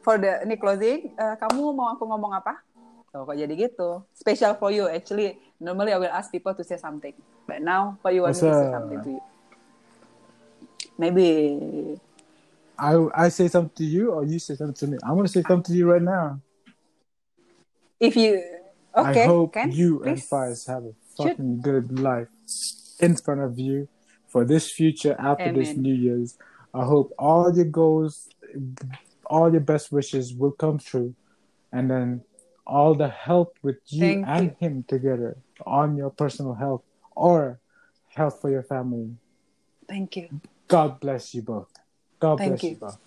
Speaker 1: for the ini closing, eh, kamu mau aku ngomong apa? Oh, kok jadi gitu? Special for you actually. Normally I will ask people to say something, but now for you want me to say
Speaker 2: Masa?
Speaker 1: something to you. Maybe.
Speaker 2: I I say something to you or you say something to me. I'm gonna say something to you right now.
Speaker 1: If you okay,
Speaker 2: I hope
Speaker 1: can
Speaker 2: you and
Speaker 1: please?
Speaker 2: Fires have a fucking good life in front of you for this future after this
Speaker 1: Amen.
Speaker 2: New Year's. I hope all your goals, all your best wishes will come true, and then all the help with you
Speaker 1: Thank
Speaker 2: and him together on your personal health or health for your family.
Speaker 1: Thank you.
Speaker 2: God bless you both. God
Speaker 1: Thank
Speaker 2: bless you.
Speaker 1: you.
Speaker 2: both.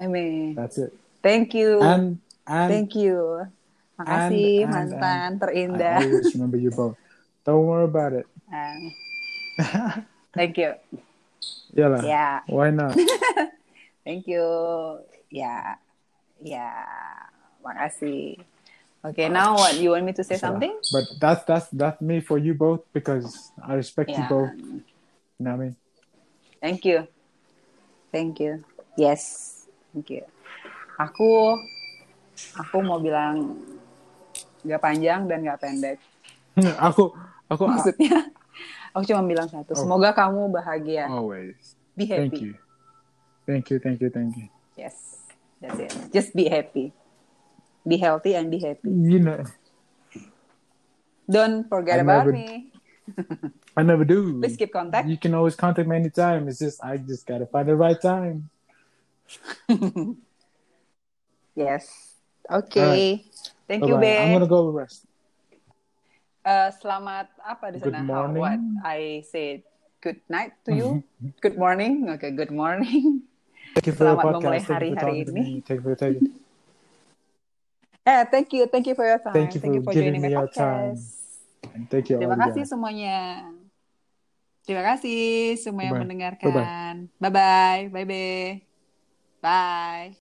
Speaker 1: Amin.
Speaker 2: That's it.
Speaker 1: Thank you.
Speaker 2: And and
Speaker 1: Thank you. Makasih
Speaker 2: and- and-
Speaker 1: mantan
Speaker 2: I
Speaker 1: terindah.
Speaker 2: always remember you both. Don't worry about it.
Speaker 1: Ah, <laughs> thank you.
Speaker 2: yeah, lah.
Speaker 1: Yeah.
Speaker 2: Why not?
Speaker 1: Thank you. Ya. Ya. Makasih. Okay, now what? You want me to say something?
Speaker 2: But that's that's that's me for you both because I respect you
Speaker 1: Yeah.
Speaker 2: both. You know what I mean?
Speaker 1: Ya. Thank you. Thank you. Yes. Thank you. Aku aku mau bilang nggak panjang dan nggak pendek. <laughs>
Speaker 2: <laughs> aku aku
Speaker 1: Maksudnya aku cuma bilang satu.
Speaker 2: Oh.
Speaker 1: Semoga kamu bahagia.
Speaker 2: always.
Speaker 1: Be happy.
Speaker 2: Thank you. Thank you, thank you, thank you.
Speaker 1: Yes. That's it. Just be happy. Be healthy and be happy.
Speaker 2: You know,
Speaker 1: Don't forget
Speaker 2: I
Speaker 1: about
Speaker 2: never-
Speaker 1: me.
Speaker 2: I never do.
Speaker 1: Please keep contact.
Speaker 2: You can always contact me anytime. It's just I just gotta find the right time.
Speaker 1: Yes. Okay. Thank you,
Speaker 2: Bye-bye. I'm
Speaker 1: Beb.
Speaker 2: gonna go rest.
Speaker 1: Eh, selamat apa di
Speaker 2: Good
Speaker 1: sana?
Speaker 2: morning.
Speaker 1: How, what? I said good night to
Speaker 2: <laughs>
Speaker 1: you. good morning. Okay, good morning. <laughs>
Speaker 2: Thank you for your
Speaker 1: Selamat memulai
Speaker 2: podcast. Thank you for
Speaker 1: hari-hari
Speaker 2: talking to
Speaker 1: ini.
Speaker 2: me. Thank you for taking.
Speaker 1: Eh, thank you, thank you for your time.
Speaker 2: Thank you for giving
Speaker 1: joining my
Speaker 2: me your time. Oh,
Speaker 1: podcast.
Speaker 2: And thank you
Speaker 1: Terima
Speaker 2: all
Speaker 1: kasih
Speaker 2: guys.
Speaker 1: semuanya. Terima kasih semua yang
Speaker 2: Bye-bye.
Speaker 1: mendengarkan. Bye bye. Bye bye. Bye.